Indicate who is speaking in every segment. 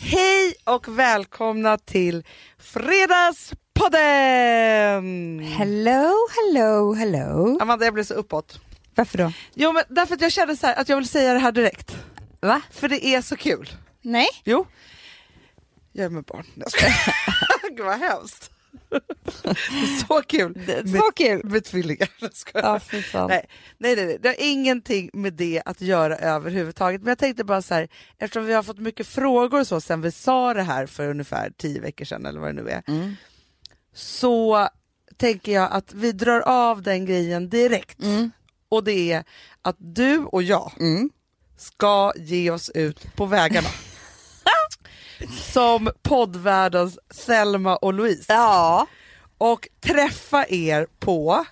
Speaker 1: Hej och välkomna till Fredagspodden!
Speaker 2: Hello, hello, hello.
Speaker 1: Amanda, jag blev så uppåt.
Speaker 2: Varför då?
Speaker 1: Jo, men därför att jag kände så här att jag vill säga det här direkt.
Speaker 2: Va?
Speaker 1: För det är så kul.
Speaker 2: Nej?
Speaker 1: Jo. Jag är med barn. Jag skojar. Gud vad hemskt. så kul. Med,
Speaker 2: Så kul.
Speaker 1: med tvillingar. Jag skojar.
Speaker 2: Ja, fy fan.
Speaker 1: Nej, nej, nej, nej, det har ingenting med det att göra överhuvudtaget. Men jag tänkte bara så här, eftersom vi har fått mycket frågor och så sen vi sa det här för ungefär tio veckor sedan eller vad det nu är.
Speaker 2: Mm.
Speaker 1: Så tänker jag att vi drar av den grejen direkt.
Speaker 2: Mm.
Speaker 1: Och det är att du och jag
Speaker 2: Mm.
Speaker 1: ska ge oss ut på vägarna. Som poddvärldens Selma och Louise.
Speaker 2: Ja.
Speaker 1: Och träffa er på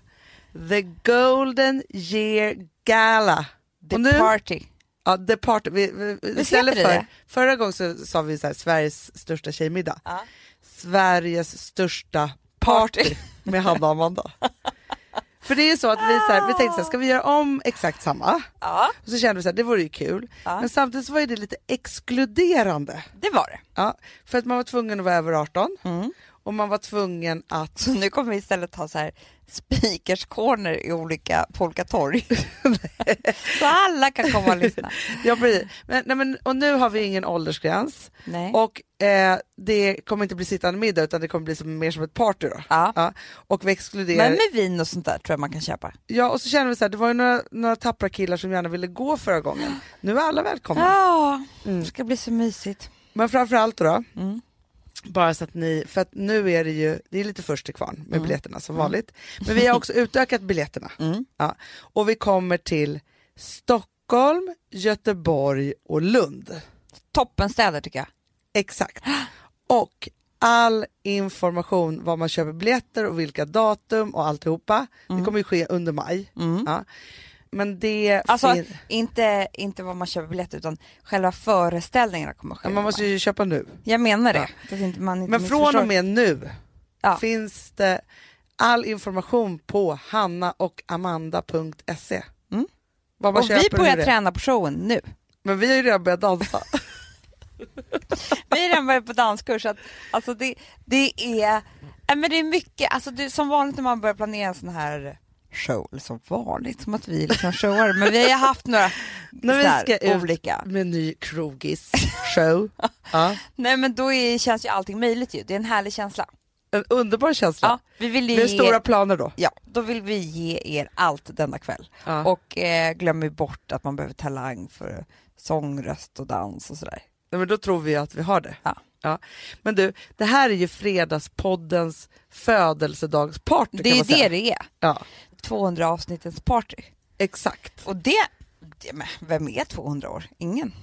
Speaker 1: The Golden Year Gala.
Speaker 2: The
Speaker 1: Och nu-
Speaker 2: party.
Speaker 1: Ja, The Party. Vi, vi, istället
Speaker 2: heter
Speaker 1: för,
Speaker 2: det
Speaker 1: Förra gången så sa vi så här, Sveriges största tjejmiddag.
Speaker 2: Ja.
Speaker 1: Sveriges största party med Hanna och Amanda. För det är ju så att vi, så här, vi tänkte så här, ska vi göra om exakt samma?
Speaker 2: Ja,
Speaker 1: Och så kände vi så här, det vore ju kul.
Speaker 2: Ja.
Speaker 1: Men samtidigt så var ju det lite exkluderande.
Speaker 2: det var det.
Speaker 1: Ja, för att man var tvungen att vara över 18
Speaker 2: Mm.
Speaker 1: och man var tvungen att...
Speaker 2: Så nu kommer vi istället ha så här speakers corner i olika, på olika torg. så alla kan komma och lyssna.
Speaker 1: Ja, precis. men, nej, men, och nu har vi ingen åldersgräns
Speaker 2: Nej.
Speaker 1: och eh, det kommer inte bli sittande middag utan det kommer bli som, mer som ett party då.
Speaker 2: ja.
Speaker 1: Ja, och vi exkluderar...
Speaker 2: Men med vin och sånt där tror jag man kan köpa.
Speaker 1: Ja, och så känner vi så här, det var ju några, några tappra killar som gärna ville gå förra gången. Nu är alla välkomna.
Speaker 2: Ja,
Speaker 1: Mm.
Speaker 2: det ska bli så mysigt.
Speaker 1: Men framförallt då,
Speaker 2: Mm.
Speaker 1: bara så att ni, för att nu är det ju, det är lite först till kvarn med
Speaker 2: Mm.
Speaker 1: biljetterna som vanligt. Men vi har också utökat biljetterna
Speaker 2: Mm.
Speaker 1: och vi kommer till Stockholm, Göteborg och Lund.
Speaker 2: Toppenstäder tycker jag.
Speaker 1: Exakt. Och all information var man köper biljetter och vilka datum och alltihopa. Det kommer ju ske under maj.
Speaker 2: Mm.
Speaker 1: Ja. Men det
Speaker 2: Alltså
Speaker 1: fin-
Speaker 2: inte, inte vad man köper biljett utan själva föreställningarna kommer ske.
Speaker 1: Ja, man måste ju köpa nu.
Speaker 2: Jag menar
Speaker 1: Ja.
Speaker 2: det. Så att inte Mm, man inte
Speaker 1: Men från och
Speaker 2: missförstår.
Speaker 1: med nu
Speaker 2: Ja.
Speaker 1: finns det all information på hannaochamanda.se.
Speaker 2: Mm.
Speaker 1: Vad man
Speaker 2: Och vi
Speaker 1: köper
Speaker 2: börjar
Speaker 1: och det.
Speaker 2: träna på showen nu.
Speaker 1: Men vi har ju redan börjat dansa.
Speaker 2: Vi är redan börjat på danskurs. så Att, alltså det, det är nej, men det är mycket, alltså det, som vanligt när man börjar planera en sån här show, eller som vanligt, som att vi liksom showar, men vi har ju haft några
Speaker 1: När vi
Speaker 2: så här,
Speaker 1: ska ut
Speaker 2: olika.
Speaker 1: med en ny krogis show. ja.
Speaker 2: Nej men då är, känns ju allting möjligt ju, det är en härlig känsla.
Speaker 1: En underbar känsla.
Speaker 2: Ja, vi vill
Speaker 1: Vi
Speaker 2: ge,
Speaker 1: har stora planer då.
Speaker 2: ja, då vill vi ge er allt denna kväll.
Speaker 1: Ja.
Speaker 2: Och eh, glöm ju bort att man behöver talang för sång, röst och dans och sådär.
Speaker 1: Nej, men då tror vi att vi har det.
Speaker 2: Ja.
Speaker 1: Men du, det här är ju Fredagspoddens födelsedagsparty.
Speaker 2: Det
Speaker 1: kan
Speaker 2: är ju
Speaker 1: man säga.
Speaker 2: det det är.
Speaker 1: Ja,
Speaker 2: 200 avsnittens party.
Speaker 1: exakt.
Speaker 2: Och det, det men vem är 200 år? Ingen.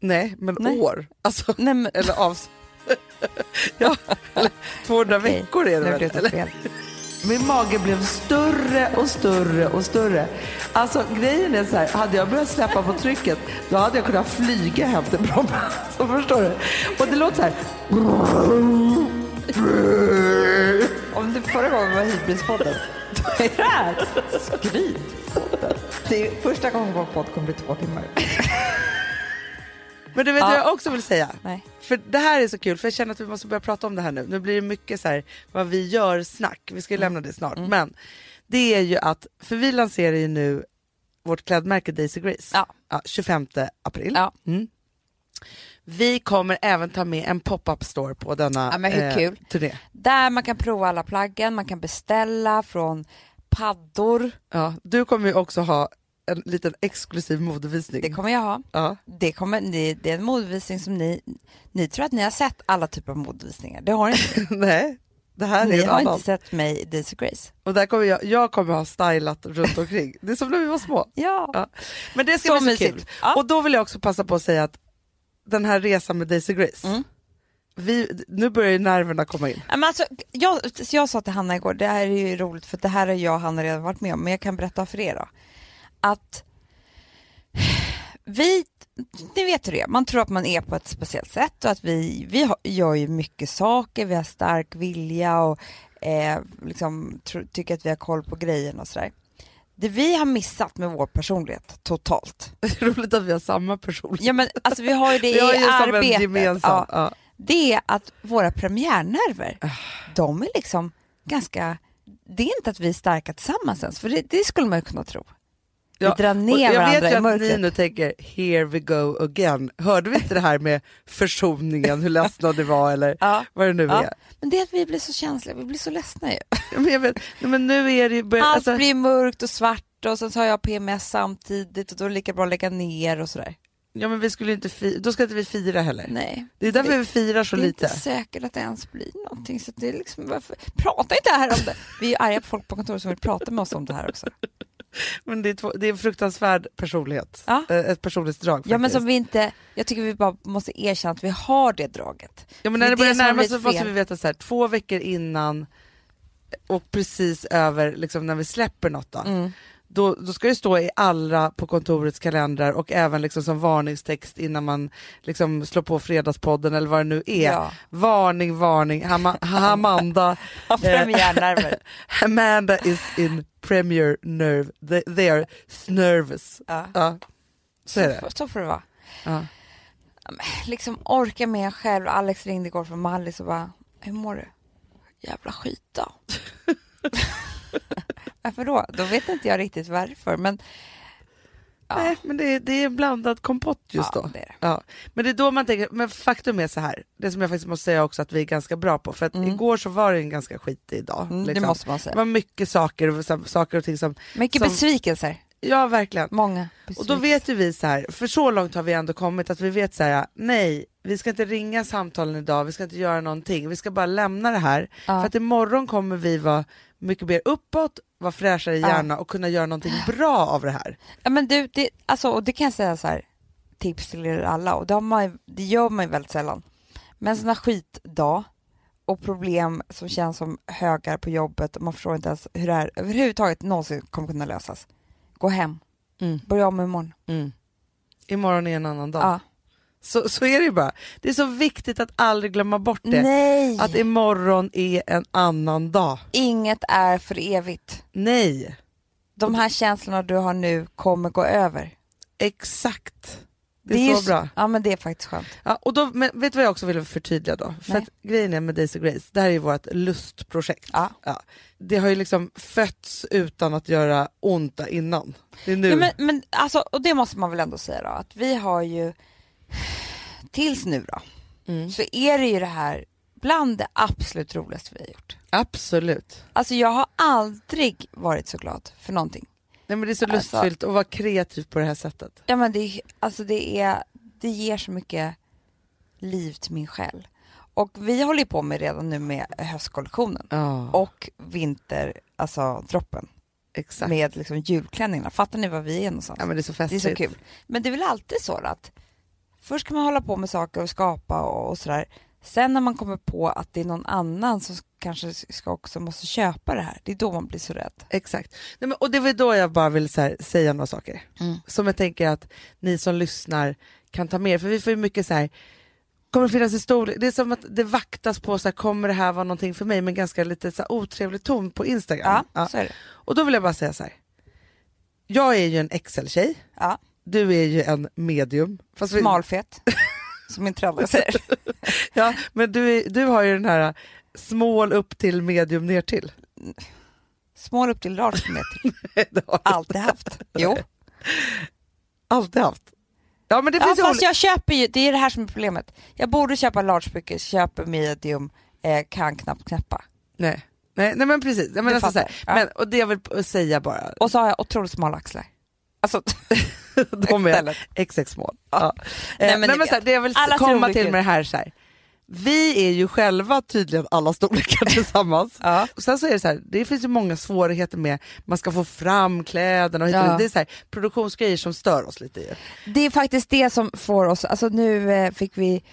Speaker 1: Nej, men
Speaker 2: Nej.
Speaker 1: år. Alltså,
Speaker 2: Nej men,
Speaker 1: eller avs... ja, eller 200
Speaker 2: Okej,
Speaker 1: veckor är det
Speaker 2: nu
Speaker 1: väl?
Speaker 2: blev det
Speaker 1: Eller?
Speaker 2: fel.
Speaker 1: Min mage blev större och större och större. Alltså grejen är så här, hade jag börjat släppa på trycket då hade jag kunnat flyga hem till Bromma. Så förstår du? Och det låter så här.
Speaker 2: Om det förra gången var Hybrispodden, då är det här Skrytpodden. Det är första gången vår podd kommer bli två timmar.
Speaker 1: Men du vet
Speaker 2: Ja.
Speaker 1: vad jag också vill säga?
Speaker 2: Nej.
Speaker 1: För det här är så kul, för jag känner att vi måste börja prata om det här nu. Nu blir det mycket så här, vad vi gör snack. Vi
Speaker 2: Mm.
Speaker 1: ska ju lämna det snart. Men det är ju att, för vi lanserar ju nu vårt klädmärke Daisy Grace.
Speaker 2: Ja.
Speaker 1: 25 april.
Speaker 2: Ja.
Speaker 1: Mm. Vi kommer även ta med en pop-up store på denna eh,
Speaker 2: Ja, men hur kul.
Speaker 1: turné.
Speaker 2: Där man kan prova alla plaggen, man kan beställa från paddor.
Speaker 1: Ja, du kommer ju också ha en liten exklusiv modevisning.
Speaker 2: Det kommer jag ha.
Speaker 1: ja.
Speaker 2: Det, kommer, ni, det är en modevisning som ni... Ni tror att ni har sett alla typer av modevisningar. Det har ni inte.
Speaker 1: Nej, det här är
Speaker 2: Ni
Speaker 1: en
Speaker 2: har
Speaker 1: annan.
Speaker 2: inte sett mig i Daisy Grace.
Speaker 1: Och där kommer jag, jag kommer ha stylat runt omkring. Det är som när vi var små.
Speaker 2: Ja.
Speaker 1: Ja. Men det ska
Speaker 2: Så
Speaker 1: bli så kul.
Speaker 2: mysigt. Ja.
Speaker 1: Och då vill jag också passa på att säga att den här resan med Daisy Grace,
Speaker 2: Mm.
Speaker 1: vi, nu börjar ju nerverna komma in.
Speaker 2: Ja, Men alltså, jag, så jag sa till Hanna igår, det här är ju roligt för det här har jag och Hanna redan varit med om, men jag kan berätta för er då. Att vi, ni vet hur det är, man tror att man är på ett speciellt sätt och att vi, vi har, gör ju mycket saker, vi har stark vilja och eh, liksom, tro, tycker att vi har koll på grejerna och sådär. Det vi har missat med vår personlighet totalt.
Speaker 1: Roligt att vi har samma person.
Speaker 2: Ja men alltså vi har ju det
Speaker 1: vi har
Speaker 2: i
Speaker 1: ju som en
Speaker 2: arbetet.
Speaker 1: gemensam.
Speaker 2: Ja.
Speaker 1: Ja.
Speaker 2: det är att våra premiärnerver, de är liksom ganska, det är inte att vi är starka tillsammans ens, för det, det skulle man ju kunna tro.
Speaker 1: Ja,
Speaker 2: Vi drar ner
Speaker 1: och jag
Speaker 2: varandra
Speaker 1: vet
Speaker 2: i
Speaker 1: ju att ni
Speaker 2: mörkret.
Speaker 1: nu tänker, here we go again. Hörde vi inte det här med försoningen, hur ledsna det var eller
Speaker 2: Ja.
Speaker 1: vad det nu
Speaker 2: Ja.
Speaker 1: är?
Speaker 2: Men det är att vi blir så känsliga, vi blir så ledsna ju.
Speaker 1: Ja, Men, jag vet, nej, men nu är det ju börjat,
Speaker 2: Allt
Speaker 1: alltså,
Speaker 2: blir mörkt och svart och sen så har jag PMS samtidigt och då är det lika bra att lägga ner och sådär.
Speaker 1: ja, men vi skulle inte fi- då ska inte vi fira heller.
Speaker 2: Nej.
Speaker 1: Det är därför vi firar så
Speaker 2: Det är
Speaker 1: lite.
Speaker 2: inte säkert att det ens blir någonting. Så det är liksom, varför? Prata inte här om det. Vi är arga på folk på kontoret som vill prata med oss om det här också.
Speaker 1: Men det är, två, det är en fruktansvärd personlighet,
Speaker 2: Ja.
Speaker 1: Eh, ett personlighetsdrag
Speaker 2: Ja, men
Speaker 1: faktiskt.
Speaker 2: som vi inte, jag tycker vi bara måste erkänna att vi har det draget.
Speaker 1: Ja, men
Speaker 2: Det
Speaker 1: när
Speaker 2: är
Speaker 1: det börjar
Speaker 2: det som har
Speaker 1: närma sig
Speaker 2: blivit
Speaker 1: måste
Speaker 2: fel.
Speaker 1: vi veta så här, två veckor innan och precis över liksom, när vi släpper något.
Speaker 2: Mm.
Speaker 1: Då. Då, då ska det stå i alla på kontorets kalendrar och även liksom som varningstext innan man liksom slår på Fredagspodden eller vad det nu är.
Speaker 2: Ja.
Speaker 1: Varning, varning, Hama- Amanda,
Speaker 2: Av premiärnerver.
Speaker 1: Amanda is in premier nerve, they, they are nervous.
Speaker 2: Ja.
Speaker 1: Ja, så är det.
Speaker 2: Så, så får det vara.
Speaker 1: Ja.
Speaker 2: Liksom orka med en själv. Alex ringde igår från Mallis och bara, hur mår du? Jävla skit då. Varför då? Då vet inte jag riktigt varför. Men Ja.
Speaker 1: Nej, men det, det är en blandad kompott just
Speaker 2: ja,
Speaker 1: då.
Speaker 2: det är det.
Speaker 1: Ja, men det är då man tänker, men faktum är så här, det som jag faktiskt måste säga också att vi är ganska bra på, för att
Speaker 2: Mm.
Speaker 1: igår så var det en ganska skitig dag.
Speaker 2: Mm,
Speaker 1: liksom.
Speaker 2: Det måste man
Speaker 1: det
Speaker 2: säga.
Speaker 1: var mycket saker och, så- saker och ting som,
Speaker 2: Mycket
Speaker 1: som-
Speaker 2: besvikelser.
Speaker 1: ja verkligen.
Speaker 2: Många
Speaker 1: Och då
Speaker 2: besvikelser.
Speaker 1: vet ju vi så här, för så långt har vi ändå kommit att vi vet så här, nej, vi ska inte ringa samtalen idag, vi ska inte göra någonting, vi ska bara lämna det här.
Speaker 2: Ja.
Speaker 1: För att imorgon kommer vi vara mycket mer uppåt, vara fräschare i
Speaker 2: Ja.
Speaker 1: hjärna och kunna göra någonting bra av det här.
Speaker 2: Ja men du, det, alltså, och det kan jag säga så här, tips till er alla, och det, har man, ju- det gör man ju väldigt sällan. Men sådana skitdag och problem som känns som högar på jobbet och man förstår inte ens hur det här överhuvudtaget någonsin kommer kunna lösas. Gå hem,
Speaker 1: Mm.
Speaker 2: börja om imorgon.
Speaker 1: Imorgon är en annan dag.
Speaker 2: mm. Ja.
Speaker 1: Så, så är det ju bara. Det är så viktigt att aldrig glömma bort det.
Speaker 2: Nej!
Speaker 1: Att imorgon är en annan dag.
Speaker 2: Inget är för evigt.
Speaker 1: Nej,
Speaker 2: De här känslorna du har nu kommer gå över.
Speaker 1: exakt. Det är
Speaker 2: ju
Speaker 1: så bra.
Speaker 2: Ja men det är faktiskt skönt.
Speaker 1: Ja, och då, men vet du vad jag också ville förtydliga då? För
Speaker 2: Nej.
Speaker 1: att grejen är med Daisy Grace, det här är ju vårt lustprojekt.
Speaker 2: Ja.
Speaker 1: Det har ju liksom fötts utan att göra ont innan. Det är nu.
Speaker 2: Ja, men, men alltså, och det måste man väl ändå säga då, att vi har ju tills nu då,
Speaker 1: Mm.
Speaker 2: så är det ju det här bland det absolut roligaste vi har gjort.
Speaker 1: Absolut.
Speaker 2: Alltså jag har aldrig varit så glad för någonting.
Speaker 1: Nej, men det är så
Speaker 2: Alltså-
Speaker 1: lustfyllt att vara kreativ på det här sättet.
Speaker 2: Ja men det, alltså det, är, det ger så mycket liv till min själ. Och vi håller ju på med redan nu med höstkollektionen
Speaker 1: Ja,
Speaker 2: och vinter, alltså droppen
Speaker 1: exakt.
Speaker 2: med liksom julklänningarna. Fattar ni var vi är någonstans?
Speaker 1: Ja, men det är så
Speaker 2: Det är
Speaker 1: festligt.
Speaker 2: så kul. Men det är väl alltid så då att först kan man hålla på med saker och skapa och, och sådär. Sen när man kommer på att det är någon annan som kanske ska också måste köpa det här, det är då man blir så rädd.
Speaker 1: Exakt. Nej, men, och det var då jag bara ville så här, säga några saker.
Speaker 2: Mm.
Speaker 1: Som jag tänker att ni som lyssnar kan ta med er. För vi får ju mycket så här, kommer det finnas en stor... Det är som att det vaktas på, så här, kommer det här vara någonting för mig? Men ganska lite så här, otrevlig ton på
Speaker 2: Ja,
Speaker 1: Instagram. Ja.
Speaker 2: så är det.
Speaker 1: Och då vill jag bara säga så här. Jag är ju en Excel-tjej.
Speaker 2: Ja.
Speaker 1: Du är ju en medium. Fast vi-
Speaker 2: Smalfet, som min tränare säger.
Speaker 1: ja, men du, är, du har ju den här äh, small upp till medium ner till.
Speaker 2: Smal upp till large meter,
Speaker 1: Det har jag
Speaker 2: alltid haft. Jo,
Speaker 1: alltid haft. Ja, men det
Speaker 2: ja,
Speaker 1: finns ju
Speaker 2: fast
Speaker 1: olika.
Speaker 2: jag köper ju, det är det här som är problemet. Jag borde köpa large mycket, köper medium, eh, kan knappt knäppa.
Speaker 1: Nej. Nej, nej, men precis. Jag menar,
Speaker 2: Du
Speaker 1: alltså, så här,
Speaker 2: fattar. Ja.
Speaker 1: Men, och det jag vill p- säga bara,
Speaker 2: Och så har jag otroligt smala axlar. Alltså,
Speaker 1: de är
Speaker 2: istället.
Speaker 1: xx mål.
Speaker 2: Ja.
Speaker 1: Ja. Eh,
Speaker 2: Nej,
Speaker 1: Nej,
Speaker 2: men
Speaker 1: men
Speaker 2: ni
Speaker 1: men
Speaker 2: vet.
Speaker 1: så här, det jag vill s-
Speaker 2: Alla ser
Speaker 1: komma
Speaker 2: olika
Speaker 1: till
Speaker 2: ut.
Speaker 1: med det här, så här, vi är ju själva tydligen alla storlekar tillsammans.
Speaker 2: Ja.
Speaker 1: Och sen så är det så här, det finns ju många svårigheter med, man ska få fram kläderna och hit och
Speaker 2: Ja.
Speaker 1: dit. det är så här, produktionsgrejer som stör oss lite ju.
Speaker 2: Det är faktiskt det som får oss, alltså nu eh, fick vi,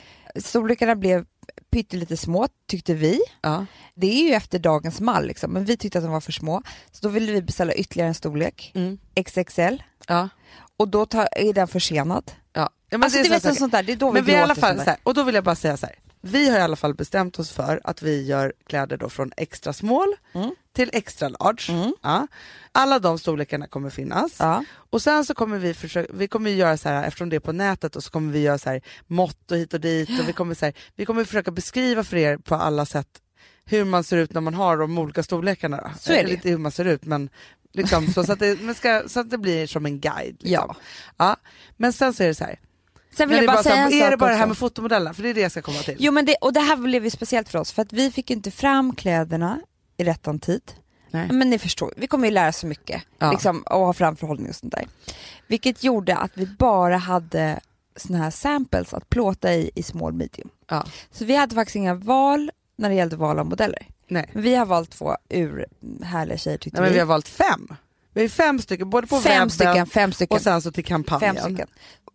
Speaker 2: storlekarna blev pyttelite små tyckte vi.
Speaker 1: Ja.
Speaker 2: Det är ju efter dagens mall liksom, men vi tyckte att de var för små. Så då ville vi beställa ytterligare en storlek,
Speaker 1: Mm.
Speaker 2: XXL,
Speaker 1: Ja.
Speaker 2: och då tar, är den försenad.
Speaker 1: Ja. Ja, men det
Speaker 2: alltså
Speaker 1: är
Speaker 2: det
Speaker 1: så här
Speaker 2: vet
Speaker 1: saker.
Speaker 2: sånt där, det är då vi
Speaker 1: men vi är i alla fall,
Speaker 2: sånt
Speaker 1: så
Speaker 2: där.
Speaker 1: här, och då vill jag bara säga så här. Vi har i alla fall bestämt oss för att vi gör kläder då från extra small
Speaker 2: Mm.
Speaker 1: till extra large. Ja. Alla de storlekarna kommer finnas.
Speaker 2: Ja.
Speaker 1: Och sen så kommer vi försöka, vi kommer ju göra så här, eftersom det är på nätet, och så kommer vi göra så här mått och hit och dit. Och vi, kommer så här, vi kommer försöka beskriva för er på alla sätt hur man ser ut när man har de olika storlekarna. då.
Speaker 2: Så är det
Speaker 1: Eller
Speaker 2: ju.
Speaker 1: Inte hur man ser ut, men liksom, så, så, att det, men ska, så att det blir som en guide. Liksom.
Speaker 2: Ja.
Speaker 1: Ja. Men sen så är det så här,
Speaker 2: Sen vill
Speaker 1: men det
Speaker 2: jag
Speaker 1: är
Speaker 2: bara säga
Speaker 1: så
Speaker 2: en
Speaker 1: här,
Speaker 2: sak
Speaker 1: Är det bara det
Speaker 2: också.
Speaker 1: här med fotomodellerna? För det är det jag ska komma till.
Speaker 2: Jo men det, och det här blev ju speciellt för oss för att vi fick ju inte fram kläderna i rättan tid.
Speaker 1: Nej.
Speaker 2: Men ni förstår, vi kommer ju lära så mycket
Speaker 1: Ja.
Speaker 2: liksom, och ha framförhållning och sånt där. Vilket gjorde att vi bara hade såna här samples att plåta i i small medium.
Speaker 1: Ja.
Speaker 2: Så vi hade faktiskt inga val när det gällde val av modeller.
Speaker 1: Nej.
Speaker 2: Men vi har valt två ur härliga tjejer tyckte
Speaker 1: Nej, men vi
Speaker 2: vi.
Speaker 1: har valt fem. Vi har ju fem stycken, både på
Speaker 2: fem
Speaker 1: webben
Speaker 2: stycken, fem stycken.
Speaker 1: och sen så till kampanjen.
Speaker 2: Fem stycken.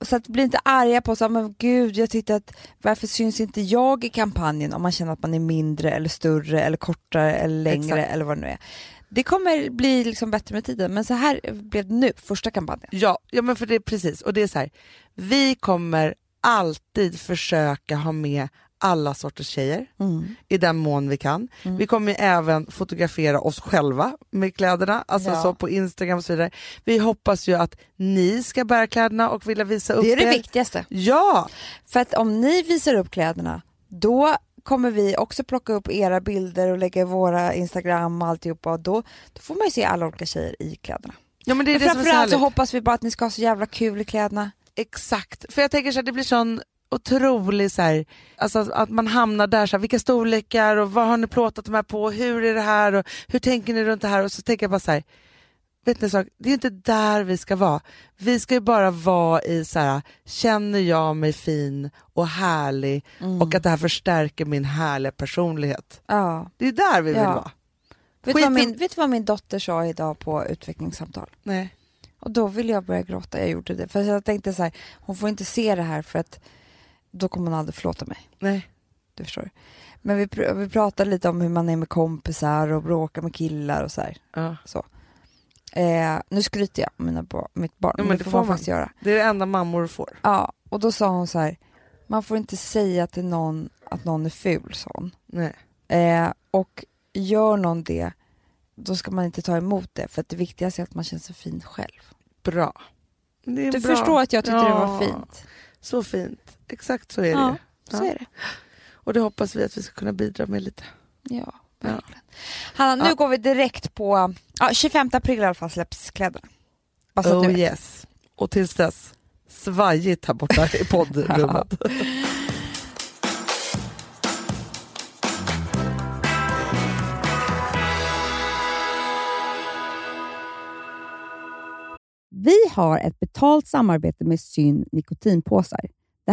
Speaker 2: Så att bli inte arga på så här, men gud jag tyckte att varför syns inte jag i kampanjen om man känner att man är mindre eller större eller kortare eller längre
Speaker 1: Exakt.
Speaker 2: eller vad det nu är. Det kommer bli liksom bättre med tiden men så här blev det nu, första kampanjen.
Speaker 1: Ja, ja men för det är precis. Och det är så här, vi kommer alltid försöka ha med alla sorters tjejer i den mån vi kan.
Speaker 2: Mm.
Speaker 1: Vi kommer ju även fotografera oss själva med kläderna, alltså
Speaker 2: Ja.
Speaker 1: så på Instagram och så vidare. Vi hoppas ju att ni ska bära kläderna och vilja visa upp
Speaker 2: Det är det
Speaker 1: er.
Speaker 2: viktigaste.
Speaker 1: Ja,
Speaker 2: För att om ni visar upp kläderna då kommer vi också plocka upp era bilder och lägga i våra Instagram och alltihopa och då, då får man ju se alla olika tjejer i kläderna.
Speaker 1: ja men det är
Speaker 2: Men
Speaker 1: det som är så
Speaker 2: framförallt så
Speaker 1: härligt.
Speaker 2: hoppas vi bara att ni ska ha så jävla kul i kläderna.
Speaker 1: Exakt, för jag tänker så här, det blir sån otrolig så här, alltså att- att man hamnar där, så här, vilka storlekar och vad har ni plåtat de här på, hur är det här och hur tänker ni runt det här och så tänker jag bara så här, vet ni en sak, det är inte där vi ska vara. Vi ska ju bara vara i så här, känner jag mig fin och härlig Mm. och att det här förstärker min härliga personlighet.
Speaker 2: Ja.
Speaker 1: Det är där vi vill
Speaker 2: Ja.
Speaker 1: vara.
Speaker 2: Vet du, vad
Speaker 1: Skiten-
Speaker 2: min, vet du vad min dotter sa idag på utvecklingssamtal?
Speaker 1: Nej.
Speaker 2: Och då ville jag börja gråta, jag gjorde det. För jag tänkte så här, hon får inte se det här för att då kommer hon aldrig förlåta mig.
Speaker 1: Nej.
Speaker 2: Du förstår. Men vi, pr- vi pratade lite om hur man är med kompisar och bråkar med killar och så här.
Speaker 1: Ja.
Speaker 2: Så. Eh, nu skryter jag om mina ba- mitt barn,
Speaker 1: Ja,
Speaker 2: men det får man faktiskt göra.
Speaker 1: Det är det enda mammor får.
Speaker 2: Ja, och då sa hon så här, man får inte säga till någon att någon är ful, sa hon.
Speaker 1: Nej.
Speaker 2: Eh, och gör någon det, då ska man inte ta emot det, för att det viktigaste är att man känner sig fin själv.
Speaker 1: Bra. Det är
Speaker 2: Du
Speaker 1: bra.
Speaker 2: förstår att jag tyckte det var
Speaker 1: Ja.
Speaker 2: fint.
Speaker 1: Så fint. Exakt så är det.
Speaker 2: Ja, så
Speaker 1: Ja.
Speaker 2: är det.
Speaker 1: Och det hoppas vi att vi ska kunna bidra med lite.
Speaker 2: Ja,
Speaker 1: Ja.
Speaker 2: verkligen. Hanna, nu
Speaker 1: Ja.
Speaker 2: går vi direkt på, ja, 25 april i alla fall släpps kläderna. Bara så att du
Speaker 1: oh
Speaker 2: vet.
Speaker 1: yes. Och tills dess, svajigt här borta i poddrummet.
Speaker 3: Vi har ett betalt samarbete med Syn nikotinpåsar. Det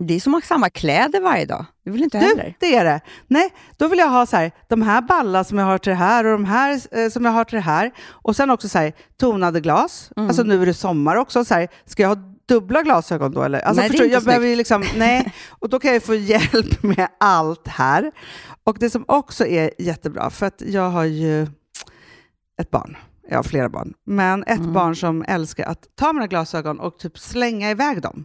Speaker 4: Det är som att ha samma kläder varje dag. Det vill inte jag
Speaker 1: Du,
Speaker 4: heller.
Speaker 1: det är det. Nej, då vill jag ha så här, de här ballar som jag har till det här och de här eh, som jag har till det här. Och sen också så här, tonade glas.
Speaker 4: Mm.
Speaker 1: Alltså nu är det sommar också. Så här, ska jag ha dubbla glasögon då eller? Alltså,
Speaker 4: Nej, det är
Speaker 1: förstår du,
Speaker 4: inte
Speaker 1: jag behöver ju liksom, nej. Och då kan jag ju få hjälp med allt här. Och det som också är jättebra, för att jag har ju ett barn. Jag har flera barn. Men ett
Speaker 4: Mm.
Speaker 1: barn som älskar att ta mina glasögon och typ slänga iväg dem.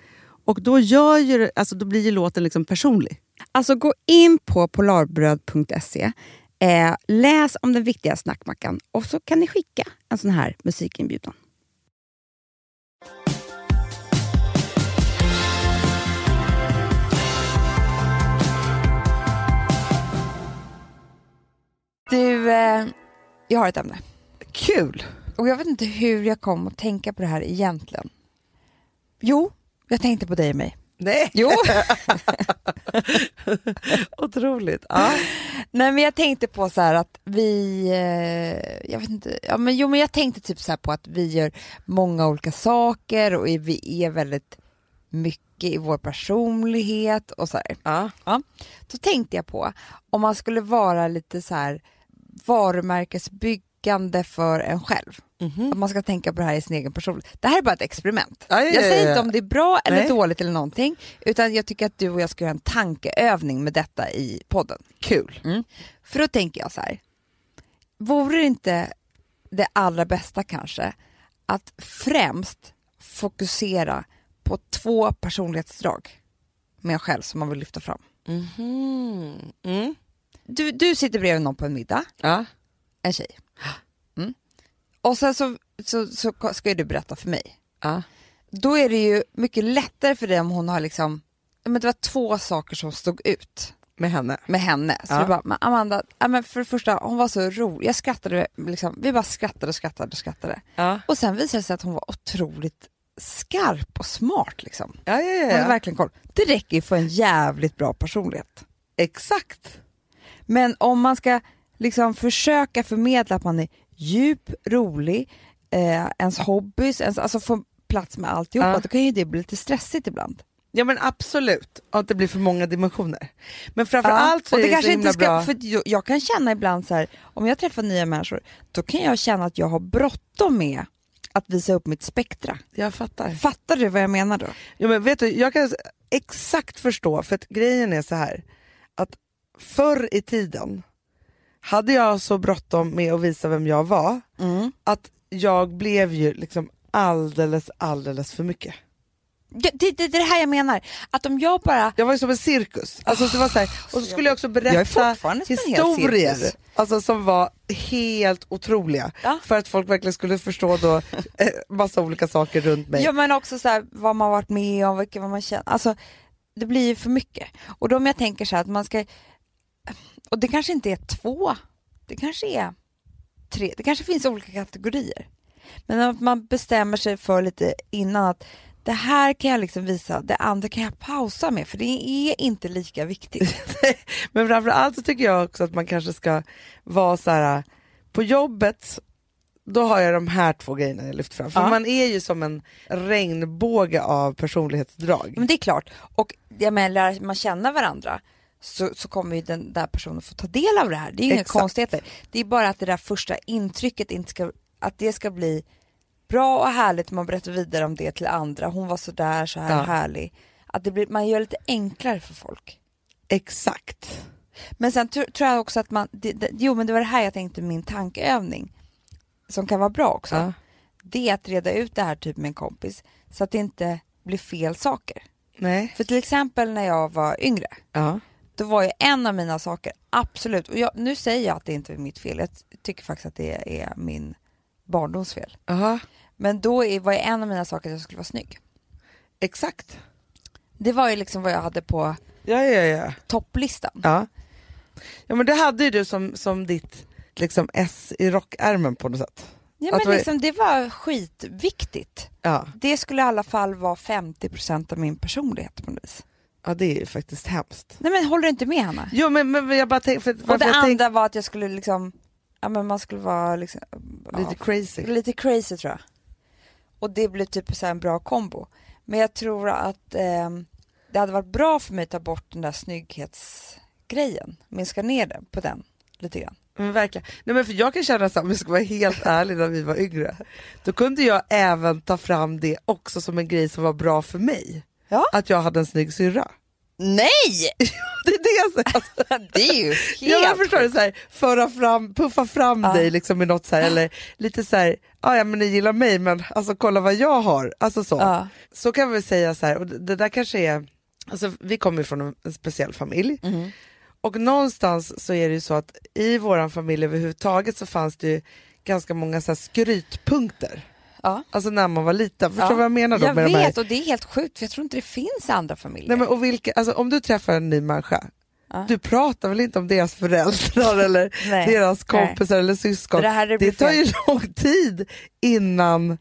Speaker 1: Och då, gör ju, det- alltså, då blir ju låten liksom personlig.
Speaker 4: Alltså gå in på polarbröd.se, eh, läs om den viktiga snackmackan och så kan ni skicka en sån här musikinbjudan.
Speaker 2: Du, eh, jag har ett ämne.
Speaker 1: Kul!
Speaker 2: Och jag vet inte hur jag kom att tänka på det här egentligen. Jo, jag tänkte på dig och mig.
Speaker 1: Nej,
Speaker 2: Jo,
Speaker 1: otroligt. Ja.
Speaker 2: nej men jag tänkte på så här att vi, eh, jag vet inte, ja men jo men jag tänkte typ så här på att vi gör många olika saker och vi är väldigt mycket i vår personlighet och så här.
Speaker 1: Ja.
Speaker 2: Då tänkte jag på om man skulle vara lite så här varumärkesbyggande för en själv.
Speaker 1: Mm.
Speaker 2: Att man ska tänka på det här i sin egen personlighet. Det här är bara ett experiment.
Speaker 1: Ja, ja,
Speaker 2: jag
Speaker 1: ja,
Speaker 2: säger
Speaker 1: ja,
Speaker 2: inte
Speaker 1: ja.
Speaker 2: om det är bra eller
Speaker 1: Nej.
Speaker 2: dåligt eller någonting, utan jag tycker att du och jag ska göra en tankeövning med detta i podden. Mm.
Speaker 1: Kul.
Speaker 2: För då tänker jag så här, vore det inte det allra bästa kanske att främst fokusera på två personlighetsdrag med en själv som man vill lyfta fram? Mhm. Mm. Du, du sitter bredvid någon på en middag,
Speaker 1: Ja.
Speaker 2: en tjej. Mm. Och sen så, så, så ska ju du berätta för mig.
Speaker 1: Ja.
Speaker 2: Då är det ju mycket lättare för dig om hon har liksom, ja, men det var två saker som stod ut
Speaker 1: Med henne.
Speaker 2: med henne. Så
Speaker 1: Ja.
Speaker 2: vi bara, men Amanda, ja, men för det första, hon var så rolig. Jag skrattade, liksom, vi bara skrattade och skrattade och skrattade.
Speaker 1: Ja.
Speaker 2: Och sen visade det sig att hon var otroligt skarp och smart liksom.
Speaker 1: Ja, ja,
Speaker 2: Hon hade verkligen koll. Det räcker ju för en jävligt bra personlighet.
Speaker 1: Exakt.
Speaker 2: Men om man ska liksom försöka förmedla att man är djup, rolig, eh, ens hobbys, ens, alltså få plats med alltihopa,
Speaker 1: Ja.
Speaker 2: då kan ju det bli lite stressigt ibland.
Speaker 1: Ja men absolut, och att det blir för många dimensioner. Men framförallt så
Speaker 2: och
Speaker 1: är
Speaker 2: det
Speaker 1: det,
Speaker 2: kanske
Speaker 1: så himla
Speaker 2: inte ska,
Speaker 1: bra.
Speaker 2: För jag, jag kan känna ibland så här, om jag träffar nya människor, då kan jag känna att jag har bråttom med att visa upp mitt spektra.
Speaker 1: Jag fattar.
Speaker 2: Fattar du vad jag menar då?
Speaker 1: Ja, men vet du, jag kan exakt förstå, för att grejen är så här att förr i tiden hade jag så bråttom med att visa vem jag var
Speaker 2: Mm.
Speaker 1: att jag blev ju liksom alldeles, alldeles för mycket.
Speaker 2: Det, det, det är det här jag menar, att om jag bara...
Speaker 1: Jag var ju som en cirkus. Alltså, det var så här, och så skulle jag också
Speaker 2: Jag är
Speaker 1: berätta
Speaker 2: fortfarande som en hel
Speaker 1: historier
Speaker 2: cirkus.
Speaker 1: alltså, som var helt otroliga.
Speaker 2: Ja.
Speaker 1: För att folk verkligen skulle förstå då eh, massa olika saker runt mig.
Speaker 2: Ja men också så här, vad man varit med om, vilka, vad man känner. Alltså, det blir ju för mycket. Och då om jag tänker så här att man ska... Och det kanske inte är två, det kanske är tre, det kanske finns olika kategorier. Men att man bestämmer sig för lite innan att det här kan jag liksom visa, det andra kan jag pausa med för det är inte lika viktigt.
Speaker 1: Men framförallt så tycker jag också att man kanske ska vara så här på jobbet då har jag de här två grejerna jag lyft fram. För
Speaker 2: Ja.
Speaker 1: man är ju som en regnbåge av personlighetsdrag.
Speaker 2: Men det är klart. Och jag menar, lär man känna varandra så, så kommer ju den där personen få ta del av det här. Det är ju inga
Speaker 1: Exakt.
Speaker 2: konstigheter. Det är bara att det där första intrycket inte ska, att det ska bli bra och härligt. Man berättar vidare om det till andra. Hon var så där, så här
Speaker 1: Ja.
Speaker 2: härlig. Att det blir, man gör det lite enklare för folk.
Speaker 1: Exakt.
Speaker 2: Men sen tr- tror jag också att man, det, det, jo men det var det här jag tänkte min tankeövning som kan vara bra också.
Speaker 1: Ja.
Speaker 2: Det är att reda ut det här typ med en kompis så att det inte blir fel saker.
Speaker 1: Nej.
Speaker 2: För till exempel när jag var yngre,
Speaker 1: Ja.
Speaker 2: då var ju en av mina saker, absolut, och jag, nu säger jag att det inte är mitt fel, jag tycker faktiskt att det är min barndoms fel.
Speaker 1: Aha.
Speaker 2: Men då är, var ju en av mina saker att jag skulle vara snygg.
Speaker 1: Exakt.
Speaker 2: Det var ju liksom vad jag hade på
Speaker 1: Ja, ja, ja.
Speaker 2: topplistan.
Speaker 1: Ja. ja men det hade ju du som, som ditt liksom S i rockärmen på något sätt.
Speaker 2: Ja,
Speaker 1: Att
Speaker 2: men
Speaker 1: vad-
Speaker 2: liksom, det var skitviktigt.
Speaker 1: Ja,
Speaker 2: Det skulle i alla fall vara 50% av min personlighet på något vis.
Speaker 1: ja det är ju faktiskt hemskt.
Speaker 2: Nej men håller du inte med Hanna?
Speaker 1: Jo men, men jag bara tänkte, för,
Speaker 2: Och
Speaker 1: varför
Speaker 2: det
Speaker 1: jag
Speaker 2: andra
Speaker 1: tänkte
Speaker 2: var att jag skulle liksom, ja men man skulle vara liksom, ja,
Speaker 1: lite crazy.
Speaker 2: Lite crazy tror jag. Och det blev typ så här en bra kombo. Men jag tror att ehm, det hade varit bra för mig att ta bort den där snygghetsgrejen. Minska ner den på den lite grann.
Speaker 1: Men verkligen. Nej, men för jag kan känna så här, om jag ska vara helt ärlig när vi var yngre, då kunde jag även ta fram det också som en grej som var bra för mig.
Speaker 2: Ja.
Speaker 1: Att jag hade en snygg syrra.
Speaker 2: Nej!
Speaker 1: Det är det jag säger.
Speaker 2: Det är ju
Speaker 1: Ja, men
Speaker 2: helt...
Speaker 1: förstår du, så här, föra fram, puffa fram
Speaker 2: Ja.
Speaker 1: dig liksom i något så här, eller lite så här, "Ah, ja men ni gillar mig men alltså kolla vad jag har, alltså så.
Speaker 2: Ja.
Speaker 1: Så kan vi säga så här, och det det där kanske är, alltså vi kommer ju från en, en speciell familj
Speaker 2: Mm-hmm.
Speaker 1: och någonstans så är det ju så att i våran familj överhuvudtaget så fanns det ju ganska många så här skrytpunkter.
Speaker 2: Ja.
Speaker 1: Alltså när man var liten, förstår
Speaker 2: Ja.
Speaker 1: du vad jag menar då?
Speaker 2: Jag
Speaker 1: med de här?
Speaker 2: vet och det är helt sjukt för jag tror inte det finns i andra familjer.
Speaker 1: Nej, men, och vilka, alltså, om du träffar en ny människa,
Speaker 2: Ja.
Speaker 1: du pratar väl inte om deras föräldrar eller
Speaker 2: Nej.
Speaker 1: deras kompisar eller syskon?
Speaker 2: Det här är
Speaker 1: det tar
Speaker 2: fel.
Speaker 1: ju lång tid innan.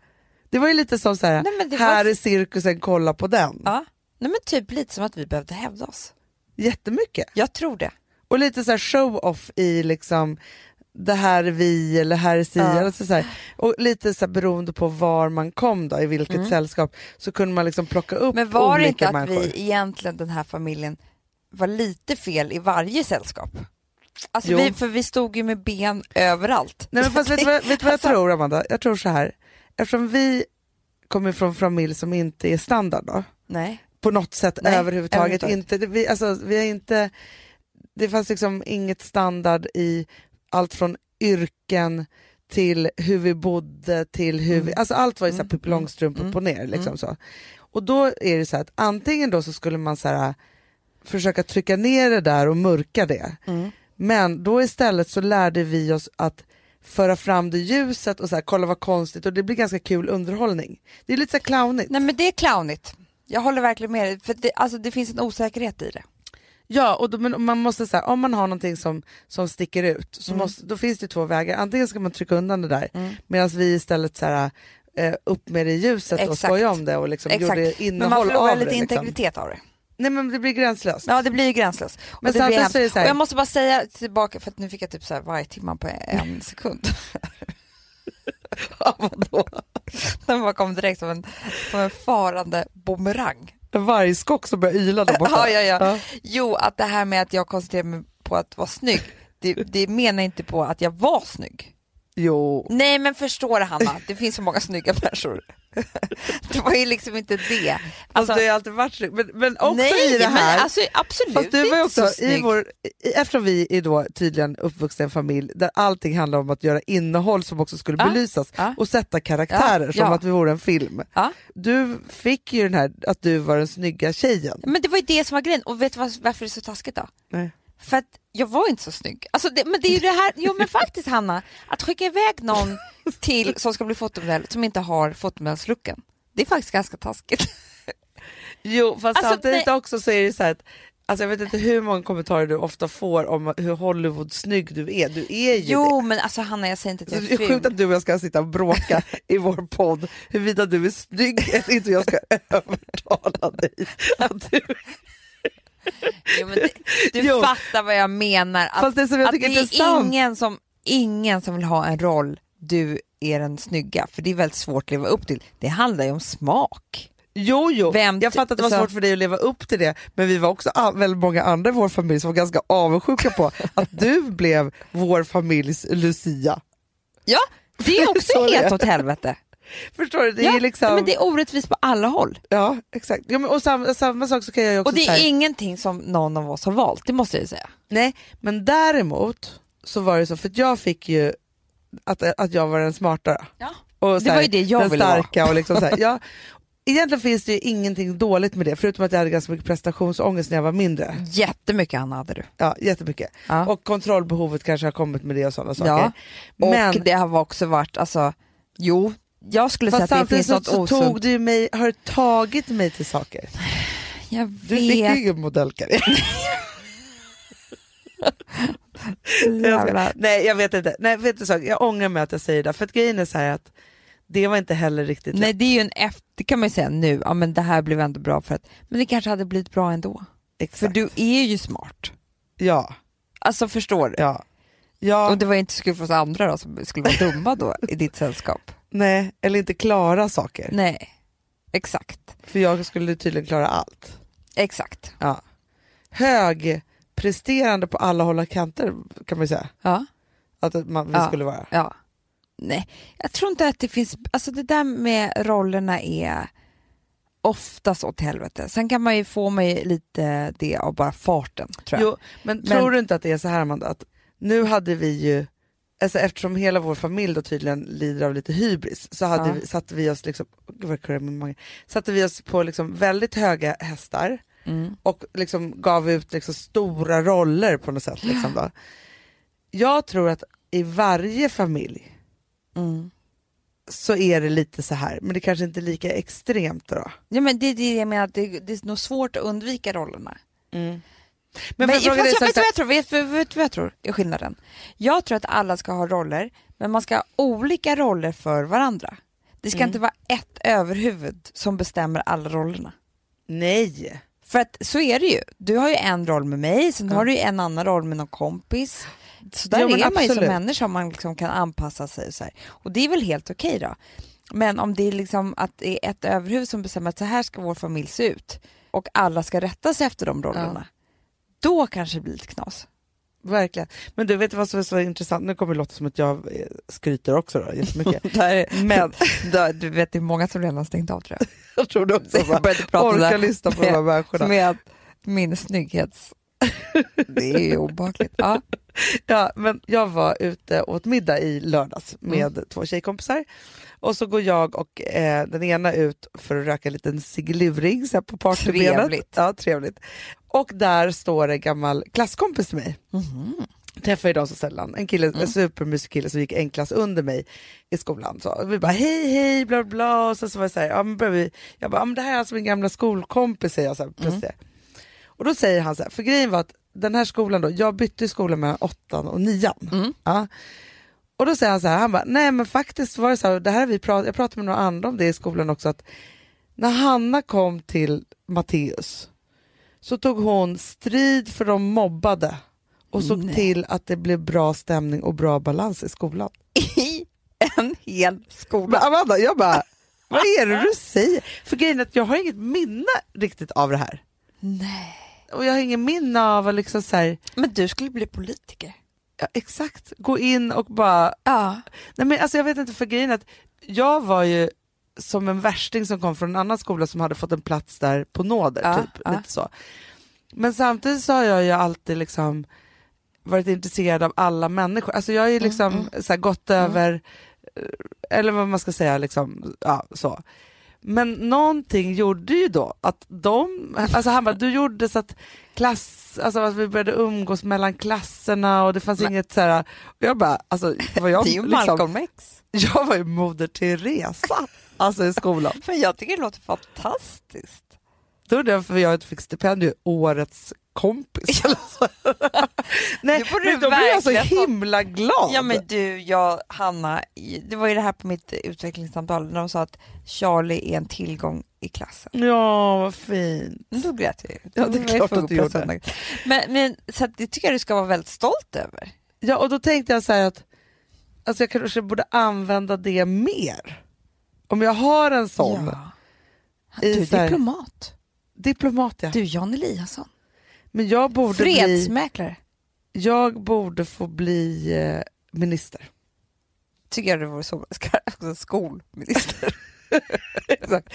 Speaker 1: Det var ju lite som så här,
Speaker 2: Nej, men det var-
Speaker 1: här är cirkusen, kolla på den.
Speaker 2: Ja. Nej men typ lite som att vi behövde hävda oss.
Speaker 1: Jättemycket.
Speaker 2: Jag tror det.
Speaker 1: Och lite så här show-off i liksom, det här är vi eller här är si.
Speaker 2: Ja.
Speaker 1: Alltså så här. Och lite så här, beroende på var man kom då, i vilket sällskap, så kunde man liksom plocka upp
Speaker 2: Mm. Men var det
Speaker 1: olika
Speaker 2: inte att
Speaker 1: människor.
Speaker 2: vi egentligen, den här familjen, var lite fel i varje sällskap? Alltså
Speaker 1: Jo.
Speaker 2: vi, för vi stod ju med ben överallt.
Speaker 1: Nej men fast vet du vad, vet du vad jag tror Amanda? Jag tror så här. eftersom vi kommer från familj som inte är standard då,
Speaker 2: Nej.
Speaker 1: på något sätt
Speaker 2: Nej,
Speaker 1: överhuvudtaget.
Speaker 2: överhuvudtaget.
Speaker 1: Inte, det- vi, alltså, vi är inte, det fanns liksom inget standard i allt från yrken till hur vi bodde till hur vi, alltså allt var ju såhär Pippi Långstrump upp och ner liksom så. Och då är det så här att antingen då så skulle man så här försöka trycka ner det där och mörka det. Men då istället så lärde vi oss att föra fram det i ljuset och så här, kolla vad konstigt och det blir ganska kul underhållning. Det är lite så här clownigt.
Speaker 2: Nej men det är clownigt. Jag håller verkligen med dig, för det, alltså, det finns en osäkerhet i det.
Speaker 1: Ja, och då, men man måste så här, om man har någonting som, som sticker ut, så
Speaker 2: Mm.
Speaker 1: måste, då finns det två vägar. Antingen ska man trycka undan det där, medan vi istället så här, eh, upp med det i ljuset och
Speaker 2: Exakt.
Speaker 1: skoja om det och liksom gjorde
Speaker 2: Exakt. Men
Speaker 1: innehåll
Speaker 2: man förlorar
Speaker 1: av
Speaker 2: lite
Speaker 1: det. Liksom.
Speaker 2: integritet av det.
Speaker 1: Nej men det blir gränslöst.
Speaker 2: Ja det blir ju gränslöst. Och
Speaker 1: Men
Speaker 2: det blir
Speaker 1: samtidigt
Speaker 2: hemskt.
Speaker 1: så är det så här-
Speaker 2: Och jag måste bara säga tillbaka, för att nu fick jag typ så här varje timma på en sekund.
Speaker 1: Ja, vadå?
Speaker 2: Den bara kom direkt som en, som en farande bumerang.
Speaker 1: En vargskock som börjar yla där borta.
Speaker 2: Ja, ja, ja.
Speaker 1: Ja.
Speaker 2: Jo, att det här med att jag koncentrerar mig på att vara snygg, det, det menar inte på att jag var snygg.
Speaker 1: Jo.
Speaker 2: Nej, men förstår du Hanna, det finns så många snygga människor. Det var ju liksom inte det.
Speaker 1: Alltså,
Speaker 2: Alltså,
Speaker 1: det har ju alltid varit snyggt. Men, men också
Speaker 2: nej,
Speaker 1: i det här.
Speaker 2: Men, alltså, absolut
Speaker 1: Fast du var ju
Speaker 2: inte
Speaker 1: också
Speaker 2: så
Speaker 1: i
Speaker 2: snygg.
Speaker 1: vår, i- eftersom vi är då tydligen uppvuxna i en familj där allting handlar om att göra innehåll som också skulle
Speaker 2: Ja,
Speaker 1: belysas
Speaker 2: ja.
Speaker 1: och sätta karaktärer
Speaker 2: Ah, Ja,
Speaker 1: som
Speaker 2: ja.
Speaker 1: att vi vore en film.
Speaker 2: Ja.
Speaker 1: Du fick ju den här att du var den snygga tjejen.
Speaker 2: Men det var ju det som var grejen. Och vet du vad- varför det är så taskigt då?
Speaker 1: Nej.
Speaker 2: För att jag var inte så snygg. Alltså det, men det är ju det här, jo men faktiskt Hanna, att skicka iväg någon till som ska bli fotomodell som inte har fotomodellslooken. Det är faktiskt ganska taskigt.
Speaker 1: Jo, fast
Speaker 2: Alltså,
Speaker 1: samtidigt
Speaker 2: nej.
Speaker 1: också så är det så här att Alltså jag vet inte hur många kommentarer du ofta får om hur Hollywood-snygg du är. Du är ju det.
Speaker 2: Jo men alltså Hanna jag säger inte att jag
Speaker 1: Det
Speaker 2: är
Speaker 1: är sjukt
Speaker 2: ful.
Speaker 1: att du och jag ska sitta och bråka i vår podd huruvida du är snygg eller inte och jag ska övertala dig. Att du...
Speaker 2: Jo, men det, du
Speaker 1: Jo.
Speaker 2: fattar vad jag menar. Att,
Speaker 1: Fast det som jag
Speaker 2: att
Speaker 1: tycker är
Speaker 2: det är
Speaker 1: intressant...
Speaker 2: ingen som, ingen som vill ha en roll du är den snygga, för det är väldigt svårt att leva upp till. Det handlar ju om smak.
Speaker 1: Jo, jo.
Speaker 2: Vem-
Speaker 1: jag fattar att det var
Speaker 2: så-
Speaker 1: svårt för dig att leva upp till det, men vi var också a- väldigt många andra i vår familj som var ganska avundsjuka på att du blev vår familjs Lucia.
Speaker 2: Ja, det är
Speaker 1: Så
Speaker 2: också
Speaker 1: det är.
Speaker 2: helt åt helvete.
Speaker 1: Förstår du? Det
Speaker 2: ja,
Speaker 1: är liksom...
Speaker 2: men det är orättvist på alla håll.
Speaker 1: Ja, exakt. Ja, men, och samma, samma sak så kan jag ju också
Speaker 2: Och det
Speaker 1: säga.
Speaker 2: är ingenting som någon av oss har valt, det måste jag ju säga.
Speaker 1: Nej, men däremot så var det så, för att jag fick ju att, att jag var den smartare.
Speaker 2: Ja.
Speaker 1: Och
Speaker 2: Det var ju det jag
Speaker 1: den
Speaker 2: ville vara.
Speaker 1: starka och liksom så här, ja. Egentligen finns det ju ingenting dåligt med det, förutom att jag hade ganska mycket prestationsångest när jag var mindre.
Speaker 2: Jättemycket Anna hade du.
Speaker 1: Ja, jättemycket.
Speaker 2: Ja.
Speaker 1: Och kontrollbehovet kanske har kommit med det och sådana saker.
Speaker 2: Ja. Och
Speaker 1: Men-
Speaker 2: det har också varit, alltså, jo, jag skulle säga
Speaker 1: Fast
Speaker 2: att det
Speaker 1: samtidigt
Speaker 2: finns
Speaker 1: så,
Speaker 2: något
Speaker 1: så
Speaker 2: osunt.
Speaker 1: tog du mig, har du tagit mig till saker.
Speaker 2: Jag
Speaker 1: Du fick ju
Speaker 2: vet,
Speaker 1: ingen modellkarriär. Jag ska-
Speaker 2: jävlar.
Speaker 1: Nej, jag vet inte. Nej, vet du, en sak? jag ångrar mig att jag säger det, för att grejen är så här att det var inte heller riktigt
Speaker 2: Nej det är ju en efter, det kan man ju säga nu, ja men det här blev ändå bra för att, men det kanske hade blivit bra ändå. För
Speaker 1: Exakt.
Speaker 2: du är ju smart.
Speaker 1: Ja,
Speaker 2: Alltså förstår du?
Speaker 1: ja. Ja,
Speaker 2: Och det var ju inte så kul för oss andra då som skulle vara dumma då i ditt sällskap.
Speaker 1: nej, eller inte klara saker.
Speaker 2: Nej, exakt.
Speaker 1: För jag skulle tydligen klara allt.
Speaker 2: Exakt.
Speaker 1: Ja. Högpresterande på alla håll och kanter kan man ju säga
Speaker 2: Ja.
Speaker 1: att man, vi
Speaker 2: Ja.
Speaker 1: skulle vara.
Speaker 2: Ja. Nej, jag tror inte att det finns, alltså det där med rollerna är oftast åt helvete. Sen kan man ju få mig lite det av bara farten tror jag.
Speaker 1: Jo, men, tror du inte att det är så här Amanda, att nu hade vi ju, alltså eftersom hela vår familj då tydligen lider av lite hybris, så hade
Speaker 2: Ja.
Speaker 1: vi, satte vi oss liksom, gud vad jag kurrar med magen. satte vi oss på liksom väldigt höga hästar
Speaker 2: Mm.
Speaker 1: och liksom gav ut liksom stora roller på något sätt. Liksom då. Jag tror att i varje familj
Speaker 2: Mm.
Speaker 1: så är det lite så här, men det kanske inte är lika extremt då.
Speaker 2: Ja, men det är det jag menar, att det, det är nog svårt att undvika rollerna.
Speaker 1: Men,
Speaker 2: Mm. Men
Speaker 1: för frågan
Speaker 2: fast
Speaker 1: är
Speaker 2: jag
Speaker 1: så
Speaker 2: vet
Speaker 1: här,
Speaker 2: vad jag tror, vet, vet, vet vad jag tror är skillnaden. Jag tror att alla ska ha roller, men man ska ha olika roller för varandra. Det ska
Speaker 1: Mm.
Speaker 2: inte vara ett överhuvud som bestämmer alla rollerna.
Speaker 1: nej,
Speaker 2: För att så är det ju. Du har ju en roll med mig, sen har du ju en annan roll med någon kompis. Så där
Speaker 1: Ja, men
Speaker 2: är man ju som
Speaker 1: absolut.
Speaker 2: människa, man liksom kan anpassa sig och så här. Och det är väl helt okej då. Men om det är liksom att det är ett överhuvud som bestämmer att så här ska vår familj se ut och alla ska rätta sig efter de rollerna. Då kanske det blir lite knas.
Speaker 1: verkligen. Men du vet du vad som är så intressant, nu kommer det låta som att jag eh, skryter också då, jättemycket.
Speaker 2: Men då, du vet, det är många som redan stängt av tror jag.
Speaker 1: jag tror du också
Speaker 2: Jag
Speaker 1: bara,
Speaker 2: började prata om det
Speaker 1: orkar
Speaker 2: där
Speaker 1: lyssna på de här människorna.
Speaker 2: med att min snygghets... Det är ju obehagligt. Ja.
Speaker 1: Ja, men jag var ute och åt middag i lördags med två tjejkompisar och så går jag och eh, den ena ut för att röka en liten ciggluring så här på partybenet.
Speaker 2: Trevligt.
Speaker 1: Ja, trevligt. Och där står en gammal klasskompis till mig. Träffade jag idag så sällan. En, kille, en supermysig kille som gick en klass under mig i skolan. Så vi bara hej hej bla bla och sen så var jag så här, ja, men började vi, jag bara, ja, men det här är alltså min gamla skolkompis säger jag så här, plötsligt. Och då säger han så här, för grejen var att den här skolan då, jag bytte ju skola mellan åttan och nian. Ja. Och då säger han så här, han bara, nej men faktiskt var det så här, det här har vi prat, jag pratade med några andra om det i skolan också, att när Hanna kom till Matteus så tog hon strid för de mobbade och såg
Speaker 2: Nej.
Speaker 1: till att det blev bra stämning och bra balans i skolan.
Speaker 2: I en hel skola.
Speaker 1: Men Amanda, jag bara, vad är det du säger? För grejen är att jag har inget minne riktigt av det här.
Speaker 2: Nej.
Speaker 1: Och jag har ingen minne av att liksom så här,
Speaker 2: Men du skulle bli politiker.
Speaker 1: ja, exakt, gå in och bara
Speaker 2: Ja.
Speaker 1: Nej men alltså jag vet inte för grejen är att jag var ju som en värsting som kom från en annan skola som hade fått en plats där på nåder.
Speaker 2: Ja,
Speaker 1: typ,
Speaker 2: ja.
Speaker 1: lite så. Men samtidigt så har jag ju alltid liksom varit intresserad av alla människor. Alltså jag har ju
Speaker 2: Mm,
Speaker 1: liksom Så här, gått över, eh, eller vad man ska säga, liksom, ja, så. Men någonting gjorde ju då att de, alltså han bara, du gjorde så att klass, alltså att vi började umgås mellan klasserna och det fanns inget så här, och jag bara, alltså vad jag,
Speaker 2: det är ju
Speaker 1: liksom,
Speaker 2: Malcolm X.
Speaker 1: jag var ju moder Teresa, alltså i skolan.
Speaker 2: För jag tycker det låter fantastiskt.
Speaker 1: Då undrar jag varför jag inte fick stipendium årets kompis eller så. Nej,
Speaker 2: Det borde
Speaker 1: men
Speaker 2: du
Speaker 1: då blev jag så
Speaker 2: verkligen få.
Speaker 1: himla glad.
Speaker 2: Ja men du, jag, Hanna, det var ju det här på mitt utvecklingssamtal när de sa att Charlie är en tillgång i klassen.
Speaker 1: ja vad fint.
Speaker 2: Men Då grät Mm, jag ju.
Speaker 1: Ja, det är
Speaker 2: var
Speaker 1: klart
Speaker 2: ju
Speaker 1: att du gjorde.
Speaker 2: söndag. Men, men så att det tycker jag du ska vara väldigt stolt över.
Speaker 1: Ja, och då tänkte jag så här att alltså jag kanske borde använda det mer. Om jag har en sån
Speaker 2: Ja.
Speaker 1: I
Speaker 2: Du
Speaker 1: så
Speaker 2: är
Speaker 1: här-
Speaker 2: diplomat.
Speaker 1: diplomat, ja.
Speaker 2: Du Jan Eliasson.
Speaker 1: Men jag borde, bli,
Speaker 2: Fredsmäklare.
Speaker 1: jag borde få bli eh, minister.
Speaker 2: Tycker jag det vore så ska- skolminister.
Speaker 1: Exakt.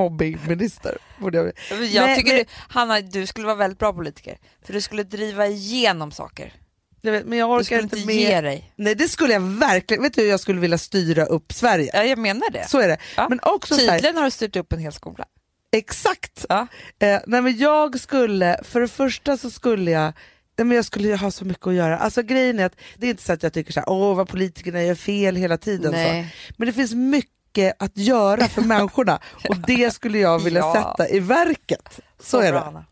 Speaker 1: Antimobbingminister borde jag bli.
Speaker 2: Jag
Speaker 1: Men-
Speaker 2: tycker
Speaker 1: men-
Speaker 2: Du, Hanna, du skulle vara väldigt bra politiker. För du skulle driva igenom saker.
Speaker 1: Jag vet, men jag
Speaker 2: du
Speaker 1: orkar
Speaker 2: skulle
Speaker 1: inte
Speaker 2: inte
Speaker 1: med.
Speaker 2: ge dig.
Speaker 1: Nej, det skulle jag verkligen. Vet du hur jag skulle vilja styra upp Sverige?
Speaker 2: Ja, jag menar det.
Speaker 1: Så är det.
Speaker 2: Ja.
Speaker 1: Men också så här,
Speaker 2: Tydligen har du styrt upp en hel skola.
Speaker 1: exakt.
Speaker 2: Ja.
Speaker 1: Eh, nej men jag skulle, för det första så skulle jag Nej, men jag skulle ju ha så mycket att göra. Alltså grejen är att det är inte så att jag tycker så här, åh vad politikerna gör fel hela tiden. Så.
Speaker 2: Nej.
Speaker 1: Men det finns mycket att göra för människorna och det skulle jag vilja
Speaker 2: Ja.
Speaker 1: sätta i verket. Så är
Speaker 2: bra,
Speaker 1: det.
Speaker 2: Hanna.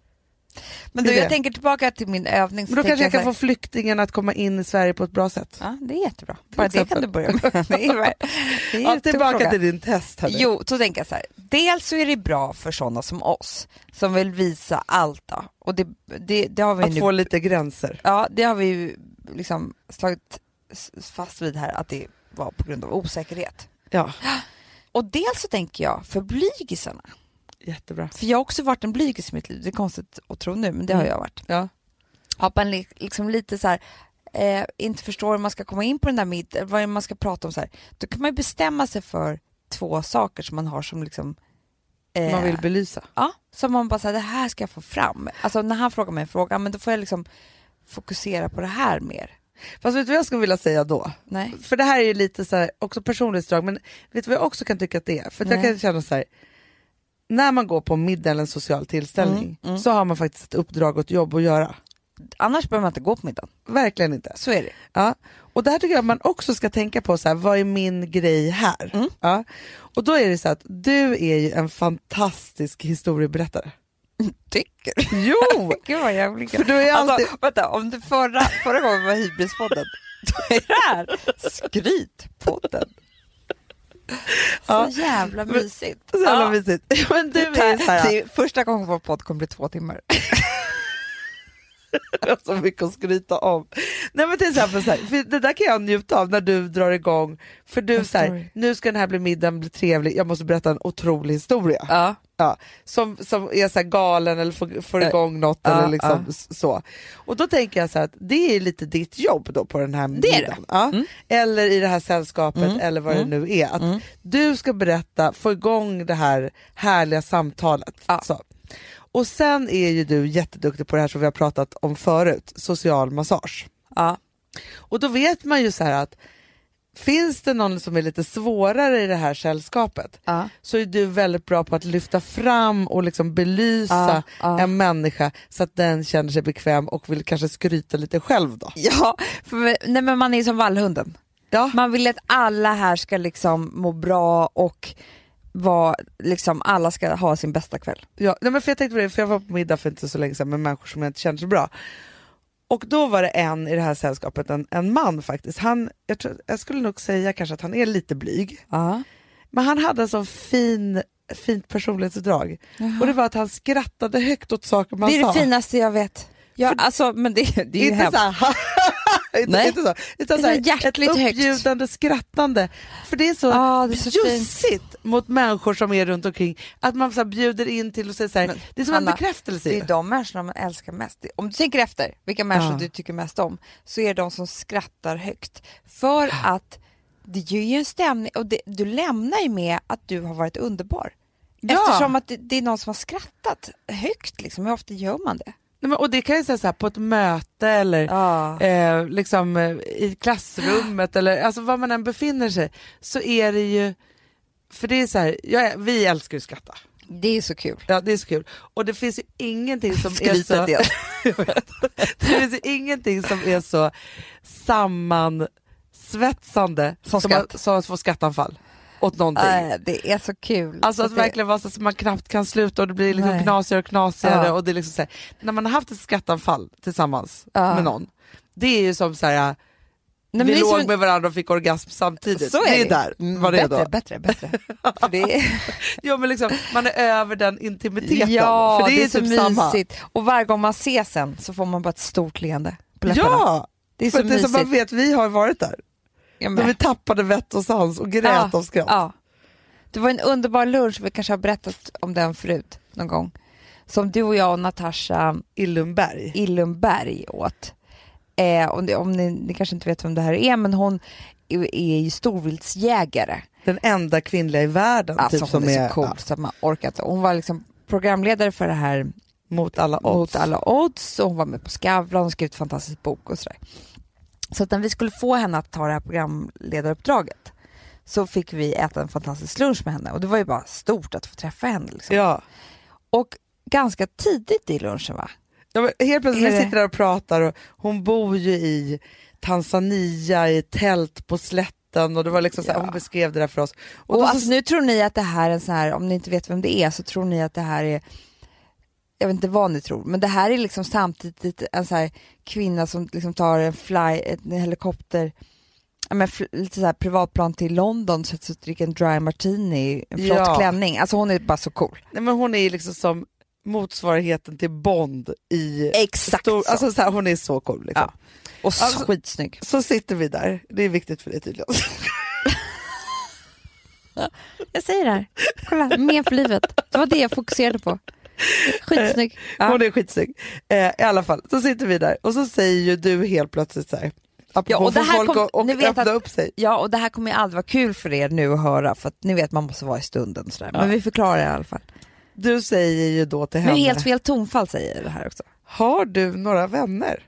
Speaker 2: Men
Speaker 1: Det är
Speaker 2: du, jag
Speaker 1: det.
Speaker 2: tänker tillbaka till min övning. så
Speaker 1: Men då
Speaker 2: tänker
Speaker 1: kanske jag kan
Speaker 2: så här-
Speaker 1: få flyktingarna att komma in i Sverige på ett bra sätt.
Speaker 2: Ja, det är jättebra. Bara det
Speaker 1: exempel.
Speaker 2: kan du börja med. Det är, det är
Speaker 1: Ja,
Speaker 2: en stor
Speaker 1: tillbaka
Speaker 2: fråga.
Speaker 1: till din test. Här nu.
Speaker 2: Jo, då tänker jag så här. Dels så är det bra för sådana som oss som vill visa allt. Då. Och det, det, det har vi
Speaker 1: att
Speaker 2: nu
Speaker 1: få lite gränser.
Speaker 2: Ja, det har vi ju liksom slagit s- fast vid här att det var på grund av osäkerhet.
Speaker 1: Ja,
Speaker 2: Och dels så tänker jag för blygisarna,
Speaker 1: jättebra.
Speaker 2: för jag har också varit en blygis i mitt liv, det är konstigt att tro nu men det har jag varit.
Speaker 1: Mm. Ja.
Speaker 2: Att man li- liksom lite så här, eh, inte förstår hur man ska komma in på den där middagen, vad är det man ska prata om så här. Då kan man ju bestämma sig för två saker som man har som liksom eh,
Speaker 1: Man vill belysa.
Speaker 2: Ja, som man bara säger det här ska jag få fram. Alltså när han frågar mig en fråga, men då får jag liksom fokusera på det här mer.
Speaker 1: Fast vet du vad jag skulle vilja säga då?
Speaker 2: Nej.
Speaker 1: För det här är ju lite så här, också personlighetsdrag, men vet du vad jag också kan tycka att det är? För att jag
Speaker 2: Nej.
Speaker 1: kan känna så här, när man går på middag eller en social tillställning
Speaker 2: Mm,
Speaker 1: så har man faktiskt ett uppdrag och ett jobb att göra.
Speaker 2: Annars behöver man inte gå på middagen.
Speaker 1: Verkligen inte.
Speaker 2: Så är det.
Speaker 1: Ja. Och det här tycker jag att man också ska tänka på, så här, vad är min grej här?
Speaker 2: Mm.
Speaker 1: Ja. Och då är det så att du är ju en fantastisk historieberättare.
Speaker 2: Tycker
Speaker 1: Jo!
Speaker 2: Gud vad jag blir glad.
Speaker 1: För du är alltid-
Speaker 2: alltså, Vänta, om det förra, förra gången var hybrispodden, då är det här skrytpodden. Så
Speaker 1: Ja.
Speaker 2: jävla
Speaker 1: Men-
Speaker 2: mysigt.
Speaker 1: Så jävla
Speaker 2: Ja.
Speaker 1: mysigt. Men du är ju så här,
Speaker 2: det är första gången vår podd kommer bli två timmar.
Speaker 1: Jag har så mycket att skryta om. Nej men till exempel så här, för det där kan jag njuta av när du drar igång, för du
Speaker 2: En
Speaker 1: så här,
Speaker 2: story.
Speaker 1: nu ska den här bli middagen bli trevlig, jag måste berätta en otrolig historia.
Speaker 2: Ja.
Speaker 1: Ja, som, som är så här galen eller får, får
Speaker 2: Ja.
Speaker 1: igång något
Speaker 2: Ja,
Speaker 1: eller liksom
Speaker 2: ja.
Speaker 1: s- så. Och då tänker jag så här att det är lite ditt jobb då på den här
Speaker 2: är det. Mm.
Speaker 1: middagen. Ja. Eller i det här sällskapet eller vad det nu är. Att du ska berätta, få igång det här härliga samtalet.
Speaker 2: Ja.
Speaker 1: Så. Och sen är ju du jätteduktig på det här som vi har pratat om förut, social massage.
Speaker 2: ja.
Speaker 1: Och då vet man ju så här att finns det någon som är lite svårare i det här sällskapet
Speaker 2: Ja.
Speaker 1: så är du väldigt bra på att lyfta fram och liksom belysa
Speaker 2: Ja, ja.
Speaker 1: en människa så att den känner sig bekväm och vill kanske skryta lite själv då.
Speaker 2: Ja, för, nej, men man är som vallhunden.
Speaker 1: Ja.
Speaker 2: Man vill att alla här ska liksom må bra och vara, liksom, alla ska ha sin bästa kväll.
Speaker 1: Ja, nej men för jag tänkte på det, för jag var på middag för inte så länge sedan med människor som jag inte känner så bra. Och då var det en i det här sällskapet, en, en man faktiskt. Han, jag, tror, jag skulle nog säga kanske att han är lite blyg.
Speaker 2: Ja.
Speaker 1: Men han hade en sån fin, fint personlighetsdrag. Och det var att han skrattade högt åt saker man
Speaker 2: det är
Speaker 1: sa.
Speaker 2: det finaste jag vet. Ja, alltså, men det, det är ju
Speaker 1: inte
Speaker 2: hemskt.
Speaker 1: så här, inte,
Speaker 2: Nej.
Speaker 1: inte så, utan
Speaker 2: Det
Speaker 1: så här,
Speaker 2: är så hjärtligt
Speaker 1: ett
Speaker 2: högt.
Speaker 1: uppbjudande skrattande. För det är så
Speaker 2: Ah, det är så
Speaker 1: bjussigt mot människor som är runt omkring att man så här, bjuder in till och säger så här,
Speaker 2: Men,
Speaker 1: det är som
Speaker 2: Hanna,
Speaker 1: en bekräftelse.
Speaker 2: Det
Speaker 1: ju.
Speaker 2: är de människorna man älskar mest. Om du tänker efter vilka människor
Speaker 1: Ja.
Speaker 2: du tycker mest om så är det de som skrattar högt. För att det ger ju en stämning och det, du lämnar ju med att du har varit underbar.
Speaker 1: Ja.
Speaker 2: Eftersom att det, det är någon som har skrattat högt liksom. Hur ofta gör man det?
Speaker 1: Nej, men, och det kan jag säga så här, på ett möte eller
Speaker 2: Ja.
Speaker 1: eh, liksom, eh, i klassrummet eller alltså, var man än befinner sig så är det ju, för det är så här, jag, är- vi älskar ju att skratta.
Speaker 2: Det är så kul.
Speaker 1: Ja, det är så kul. Och det finns ju ingenting som är
Speaker 2: Skryt
Speaker 1: så...
Speaker 2: en del.
Speaker 1: Jag vet. det finns ju ingenting som är så sammansvetsande
Speaker 2: Som
Speaker 1: som, att,
Speaker 2: skratt.
Speaker 1: som att få skattanfall åt någonting.
Speaker 2: Nej, det är så kul.
Speaker 1: Alltså att
Speaker 2: det,
Speaker 1: verkligen vara så att man knappt kan sluta och det blir liksom
Speaker 2: Nej.
Speaker 1: knasigare och knasigare.
Speaker 2: Ja.
Speaker 1: Och det är liksom så här, när man har haft ett skattanfall tillsammans
Speaker 2: Ja.
Speaker 1: med någon, det är ju som så här,
Speaker 2: Nej, men
Speaker 1: vi
Speaker 2: det är
Speaker 1: låg
Speaker 2: som-
Speaker 1: med varandra och fick orgasm samtidigt.
Speaker 2: Så är
Speaker 1: det
Speaker 2: det
Speaker 1: är
Speaker 2: ju. Mm,
Speaker 1: där, vad det är
Speaker 2: bättre,
Speaker 1: då.
Speaker 2: bättre, bättre, För det är...
Speaker 1: Ja, men liksom, man är över den intimiteten.
Speaker 2: Ja,
Speaker 1: för det, är,
Speaker 2: så
Speaker 1: typ samma.
Speaker 2: mysigt. Och varje gång man ses sen så får man bara ett stort leende på läpparna.
Speaker 1: Ja,
Speaker 2: det är
Speaker 1: för
Speaker 2: så
Speaker 1: att det är som
Speaker 2: mysigt.
Speaker 1: man vet, vi har varit där.
Speaker 2: Ja,
Speaker 1: När
Speaker 2: men-
Speaker 1: vi tappade vett och sans och grät
Speaker 2: Ja,
Speaker 1: av skratt.
Speaker 2: Ja. Det var en underbar lunch, vi kanske har berättat om den förut någon gång, som du och jag och Natasha
Speaker 1: I Lundberg.
Speaker 2: Illumberg åt. Eh, om det, om ni, ni kanske inte vet vem det här är, men hon är är ju storviltsjägare.
Speaker 1: Den enda kvinnliga i världen
Speaker 2: Alltså
Speaker 1: typ,
Speaker 2: hon
Speaker 1: som
Speaker 2: är,
Speaker 1: är
Speaker 2: så cool
Speaker 1: ja,
Speaker 2: så att man orkar inte. Hon var liksom programledare för det här
Speaker 1: mot alla odds.
Speaker 2: mot alla odds och hon var med på Skavlan och skrev ett fantastiskt bok och sådär. Så att när vi skulle få henne att ta det här programledaruppdraget så fick vi äta en fantastisk lunch med henne och det var ju bara stort att få träffa henne. Liksom.
Speaker 1: Ja.
Speaker 2: Och ganska tidigt i lunchen va?
Speaker 1: Ja, men helt plötsligt när
Speaker 2: Är det-
Speaker 1: jag sitter där och pratar och hon bor ju i Tanzania i tält på slätten och det var liksom så här,
Speaker 2: Ja.
Speaker 1: hon beskrev det där för oss.
Speaker 2: Och,
Speaker 1: Och, då
Speaker 2: alltså,
Speaker 1: så,
Speaker 2: nu tror ni att det här är en sån här, om ni inte vet vem det är så tror ni att det här är jag vet inte vad ni tror, men det här är liksom samtidigt en så här kvinna som liksom tar en, fly, en helikopter, ja, men fl- lite så här privatplan till London, sätter sig och dricker en dry martini i en flott
Speaker 1: Ja.
Speaker 2: klänning. Alltså hon är bara så cool.
Speaker 1: nej, men hon är ju liksom som motsvarigheten till Bond i...
Speaker 2: Exakt så.
Speaker 1: Alltså så här, hon är så cool liksom.
Speaker 2: Ja. Och så
Speaker 1: Alltså-
Speaker 2: skitsnygg.
Speaker 1: Så sitter vi där, det är viktigt för dig tydligen.
Speaker 2: Jag säger det här, kolla, med för livet. Det var det jag fokuserade på. Skitsnygg. Ja.
Speaker 1: Hon är skitsnygg. Eh, I alla fall, så sitter vi där och så säger ju du helt plötsligt så här, apropå
Speaker 2: Ja, och det
Speaker 1: får
Speaker 2: här
Speaker 1: folk
Speaker 2: kom-
Speaker 1: att- och
Speaker 2: ni vet
Speaker 1: öppna
Speaker 2: att-
Speaker 1: upp sig.
Speaker 2: Ja, och det här kommer ju aldrig vara kul för er nu att höra för att ni vet man måste vara i stunden sådär. Men vi förklarar i alla fall.
Speaker 1: Du säger ju då till
Speaker 2: Nu är
Speaker 1: henne,
Speaker 2: helt fel tonfall säger jag det här också.
Speaker 1: har du några vänner?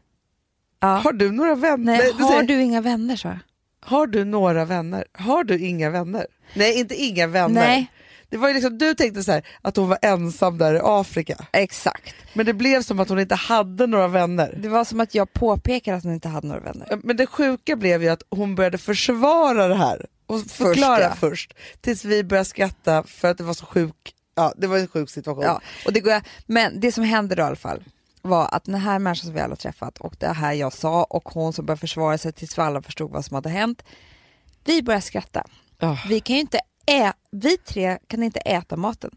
Speaker 2: Ja.
Speaker 1: Har du några vänner?
Speaker 2: Nej,
Speaker 1: du
Speaker 2: har
Speaker 1: säger,
Speaker 2: du inga vänner så?
Speaker 1: har du några vänner? Har du inga vänner? Nej, inte inga vänner.
Speaker 2: Nej,
Speaker 1: Det var ju liksom, du tänkte så här, att hon var ensam där i Afrika,
Speaker 2: exakt.
Speaker 1: men det blev som att hon inte hade några vänner.
Speaker 2: Det var som att jag påpekade att ni inte hade några vänner.
Speaker 1: Men det sjuka blev ju att hon började försvara det här och förklara
Speaker 2: ja.
Speaker 1: först, tills vi började skratta för att det var så sjuk, ja det var en sjuk situation.
Speaker 2: Ja, och det går jag, men det som hände då i alla fall var att den här människan som vi alla träffat och det här jag sa och hon som började försvara sig tills vi alla förstod vad som hade hänt. Vi började skratta.
Speaker 1: Ja.
Speaker 2: Vi kan ju inte ä- vi tre kan inte äta maten.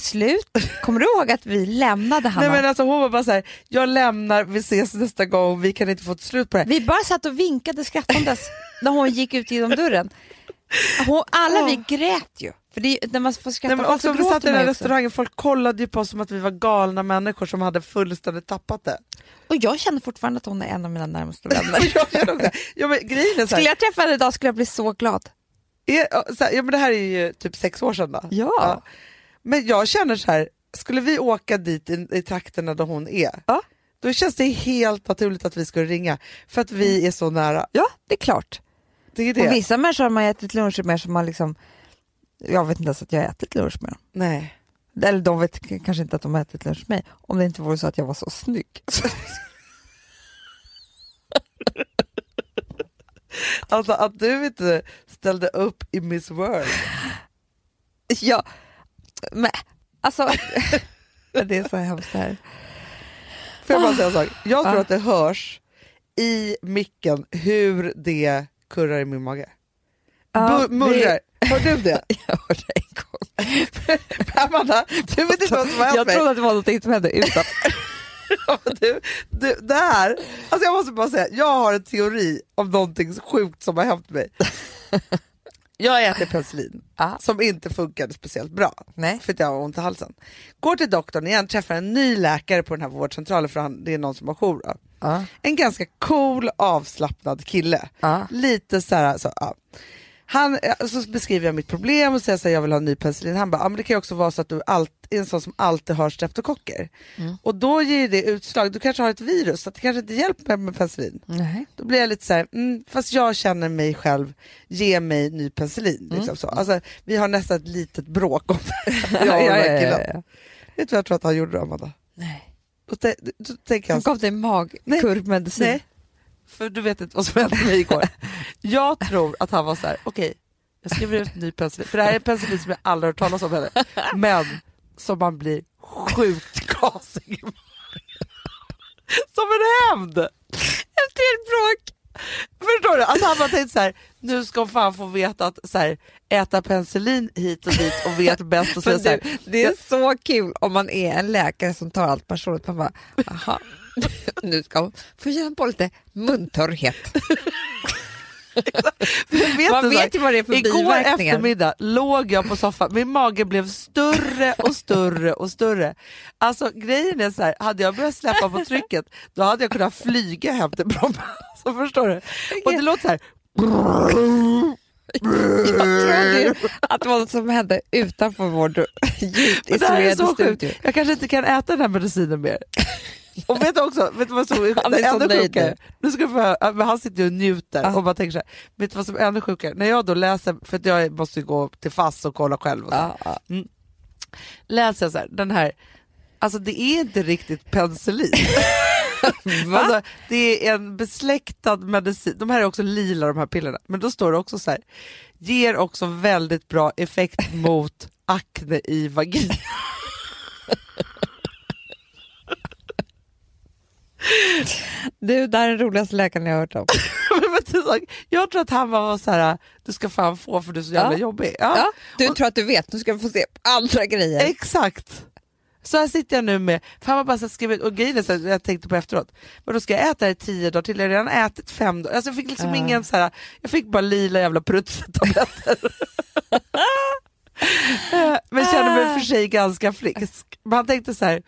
Speaker 2: slut, kommer du ihåg att vi lämnade Hanna?
Speaker 1: Nej men alltså hon var bara så här, jag lämnar, vi ses nästa gång, vi kan inte få ett slut på det här.
Speaker 2: Vi bara satt och vinkade skrattandes när hon gick ut genom dörren. Hon, alla vi grät ju. För det, är ju- när man får skratta
Speaker 1: Nej, men
Speaker 2: folk
Speaker 1: också,
Speaker 2: så
Speaker 1: vi satt i
Speaker 2: gråter
Speaker 1: den
Speaker 2: man
Speaker 1: här
Speaker 2: ju också.
Speaker 1: restaurangen, folk kollade ju på oss som att vi var galna människor som hade fullständigt tappat det.
Speaker 2: Och jag känner fortfarande att hon är en av mina närmaste vänner.
Speaker 1: Och jag känner också, ja, men grejen är så här,
Speaker 2: Skulle jag träffa henne idag skulle jag bli så glad.
Speaker 1: är, ja, så här, ja, men det här är ju typ sex år sedan då.
Speaker 2: Ja.
Speaker 1: Men jag känner så här, skulle vi åka dit i, i trakterna där hon är,
Speaker 2: Ja.
Speaker 1: då känns det helt naturligt att vi skulle ringa för att vi är så nära.
Speaker 2: Ja, det är klart.
Speaker 1: Det är
Speaker 2: Mm. Och
Speaker 1: det.
Speaker 2: vissa människor har man ätit lunch med som man liksom... Jag vet inte ens att jag har ätit lunch med dem.
Speaker 1: Nej.
Speaker 2: Eller de vet k- kanske inte att de har ätit lunch med mig. Om det inte vore så att jag var så snygg.
Speaker 1: Alltså att du inte ställde upp i Miss World.
Speaker 2: Ja, men alltså... det är så hemskt det här.
Speaker 1: Får jag bara säga en sak? Jag tror
Speaker 2: Ja.
Speaker 1: att det hörs i micken hur det kurrar i min mage.
Speaker 2: Ja,
Speaker 1: Bu- Mullrar.
Speaker 2: det-
Speaker 1: Hör du det?
Speaker 2: Jag hörde en gång.
Speaker 1: Amanda, du vet inte vad som har hänt
Speaker 2: Jag
Speaker 1: mig.
Speaker 2: trodde att det var någonting som hände utan.
Speaker 1: Du, du, det här, alltså jag måste bara säga, jag har en teori om någonting sjukt som har hänt mig. Jag äter penicillin
Speaker 2: Ja.
Speaker 1: som inte funkade speciellt bra
Speaker 2: Nej.
Speaker 1: för att jag har ont i halsen. Går till doktorn igen, träffar en ny läkare på den här vårdcentralen för han, det är någon som har jour. då.
Speaker 2: Ja.
Speaker 1: En ganska cool, avslappnad kille.
Speaker 2: Ja.
Speaker 1: Lite så här, alltså, ja. Han, eh, så beskriver jag mitt problem och säger så här, jag vill ha en ny penicillin. Han bara, ja, men det kan ju också vara så att du allt, är en sån som alltid har streptokocker. Och då ger ju det utslag, du kanske har ett virus, så att det kanske inte hjälper med penicillin.
Speaker 2: Nej.
Speaker 1: Då blir jag lite så här, mm, fast jag känner mig själv, ge mig ny penicillin. Liksom så. Alltså, vi har nästan ett litet bråk om det här, jag och den här killen. Vet du vad jag tror att han gjorde då, Amanda?
Speaker 2: Nej.
Speaker 1: Då, tä- då tänker
Speaker 2: Han
Speaker 1: jag så-
Speaker 2: gav dig magkurvmedicin.
Speaker 1: Nej, för du vet inte vad som hände mig igår. Jag tror att han var så här, okej, jag skriver ut en ny penicillin, för det här är en penicillin som jag aldrig har hört talas om heller, men som man blir sjukt gasig i magen. Som en hämnd! Efter ett bråk. Förstår du? Att han bara tänkte så här, nu ska hon fan få veta att så här, äta penicillin hit och dit och vet bäst och säga
Speaker 2: Men
Speaker 1: så
Speaker 2: du,
Speaker 1: här,
Speaker 2: det är så kul om man är en läkare som tar allt personligt. Man bara, aha, nu ska hon få känna på lite muntorrhet.
Speaker 1: Vet
Speaker 2: Man
Speaker 1: du, så här,
Speaker 2: vet ju vad det är för
Speaker 1: Igår
Speaker 2: biverkningar.
Speaker 1: eftermiddag låg jag på soffan, min mage blev större och större och större. Alltså grejen är så här, hade jag börjat släppa på trycket då hade jag kunnat flyga hem till Bromma. Så förstår du? Och det låter så här,
Speaker 2: Jag trodde ju att det var något som hände utanför vår dörr. djupt
Speaker 1: det här är
Speaker 2: isolerade
Speaker 1: så
Speaker 2: studio.
Speaker 1: sjukt, jag kanske inte kan äta den här medicinen mer. Och vet du också, vet du vad som
Speaker 2: Han är så
Speaker 1: ännu
Speaker 2: nöjd
Speaker 1: sjukare?
Speaker 2: nu. Ah.
Speaker 1: Nu ska du få höra, men han sitter ju och njuter
Speaker 2: Ja.
Speaker 1: och bara tänker så här, vet du vad som är ännu sjukare? När jag då läser, för att jag måste ju gå till FASS och kolla själv och så.
Speaker 2: Ja, ja.
Speaker 1: läser jag så här, den här, alltså det är inte riktigt penicillin. alltså, det är en besläktad medicin, de här är också lila de här pillerna, men då står det också så här, ger också väldigt bra effekt mot akne i vagina.
Speaker 2: Du, det här är den roligaste läkaren jag har hört om.
Speaker 1: Men vet du en sak? jag tror att han bara var så här, du ska fan få för du är så jävla
Speaker 2: Ja.
Speaker 1: jobbig.
Speaker 2: Ja, du tror att du vet, nu ska du få se andra grejer.
Speaker 1: Exakt. Så här sitter jag nu med, för han har bara så här skrivit, och grejen är så här, jag tänkte på efteråt, men då ska jag äta det i tio dagar till, jag har redan ätit fem dagar. Alltså jag fick liksom
Speaker 2: Ja.
Speaker 1: ingen så här, jag fick bara lila jävla prutttabletter. Eh, men kände mig
Speaker 2: Ah.
Speaker 1: för sig ganska frisk. Men han tänkte så här,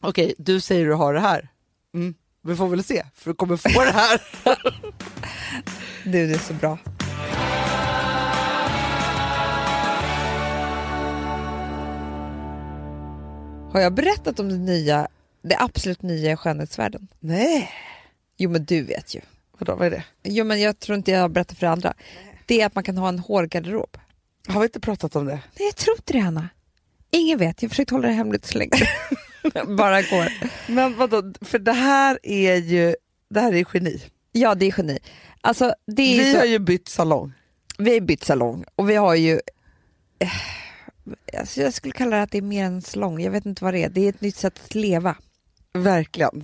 Speaker 1: okej du säger du har det här, mm, vi får väl se, för du kommer få det här.
Speaker 2: Du, det är så bra. Har jag berättat om det nya, det absolut nya i skönhetsvärlden?
Speaker 1: Nej.
Speaker 2: Jo, men du vet ju.
Speaker 1: Vadå, vad är det?
Speaker 2: Jo, men jag tror inte jag berättar för andra. Det är att man kan ha en hårgarderob.
Speaker 1: Har vi inte pratat om det?
Speaker 2: Nej, jag tror inte det, Hanna. Ingen vet, jag har försökt hålla det hemligt så länge. Bara går.
Speaker 1: Men vadå, för det här är ju, det här är geni.
Speaker 2: Ja, det är geni. Alltså, det är
Speaker 1: Vi
Speaker 2: så...
Speaker 1: har ju bytt salong.
Speaker 2: Vi har ju bytt salong och vi har ju... Eh, alltså jag skulle kalla det att det är mer än en salong. Jag vet inte vad det är. Det är ett nytt sätt att leva.
Speaker 1: Verkligen.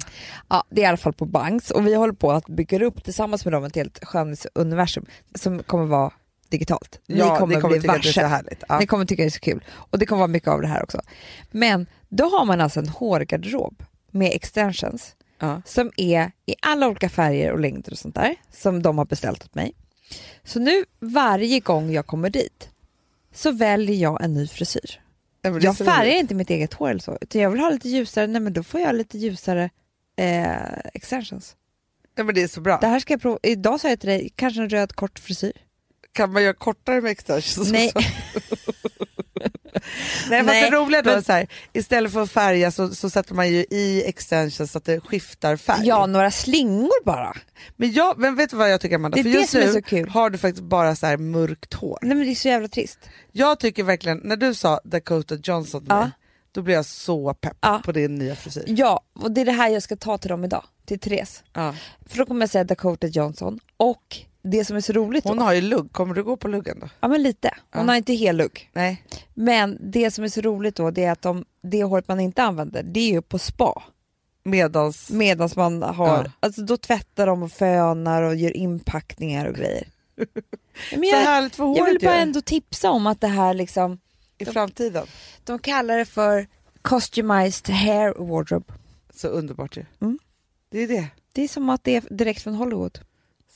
Speaker 2: Ja, det är i alla fall på Banks och vi håller på att bygga upp tillsammans med dem ett helt skönhetsuniversum som kommer vara digitalt.
Speaker 1: ja,
Speaker 2: Ni kommer,
Speaker 1: det kommer
Speaker 2: bli
Speaker 1: tycka att det är så
Speaker 2: varse.
Speaker 1: härligt. Ja.
Speaker 2: Ni kommer tycka det är så kul. Och det kommer vara mycket av det här också. Men då har man alltså en hårgarderob med extensions
Speaker 1: Ja.
Speaker 2: som är i alla olika färger och längder och sånt där som de har beställt åt mig. Så nu varje gång jag kommer dit så väljer jag en ny frisyr.
Speaker 1: Ja, men det är
Speaker 2: Jag
Speaker 1: så
Speaker 2: färgar
Speaker 1: roligt.
Speaker 2: inte mitt eget hår eller så utan jag vill ha lite ljusare, nej men då får jag lite ljusare eh, extensions.
Speaker 1: Ja, men det är så bra.
Speaker 2: Det här ska jag prova. Idag sa jag till dig, kanske en röd kort frisyr.
Speaker 1: Kan man göra kortare med extensions?
Speaker 2: Nej.
Speaker 1: Nej, fast
Speaker 2: Nej,
Speaker 1: det roliga då
Speaker 2: men-
Speaker 1: är så här, istället för att färga så, så sätter man ju i extensions så att det skiftar färg.
Speaker 2: Ja, några slingor bara.
Speaker 1: Men, jag, men vet du vad jag tycker Amanda?
Speaker 2: Det är
Speaker 1: för
Speaker 2: det
Speaker 1: just
Speaker 2: som är
Speaker 1: nu
Speaker 2: så kul.
Speaker 1: har du faktiskt bara så här mörkt hår.
Speaker 2: Nej men det är så jävla trist.
Speaker 1: Jag tycker verkligen, när du sa Dakota Johnson till
Speaker 2: Ja.
Speaker 1: mig, då blev jag så pepp
Speaker 2: Ja. Mm.
Speaker 1: på din nya frisyr.
Speaker 2: Ja, och det är det här jag ska ta till dem idag, till Therese. För då kommer jag säga Dakota Johnson och det som är så roligt
Speaker 1: Hon
Speaker 2: då,
Speaker 1: har ju lugg, kommer du gå på luggen då?
Speaker 2: ja men lite, hon
Speaker 1: Ja.
Speaker 2: har inte hel lugg.
Speaker 1: Nej.
Speaker 2: Men det som är så roligt då det är att de, det håret man inte använder det är ju på spa.
Speaker 1: Medans...
Speaker 2: Medan man har,
Speaker 1: Ja.
Speaker 2: alltså då tvättar de och fönar och gör inpackningar och grejer. Men
Speaker 1: Så
Speaker 2: jag,
Speaker 1: härligt för håret
Speaker 2: jag vill bara
Speaker 1: ju,
Speaker 2: ändå tipsa om att det här liksom,
Speaker 1: i framtiden.
Speaker 2: de kallar det för customized hair wardrobe.
Speaker 1: Så underbart ju.
Speaker 2: Mm.
Speaker 1: Det är det.
Speaker 2: Det är som att det är direkt från Hollywood.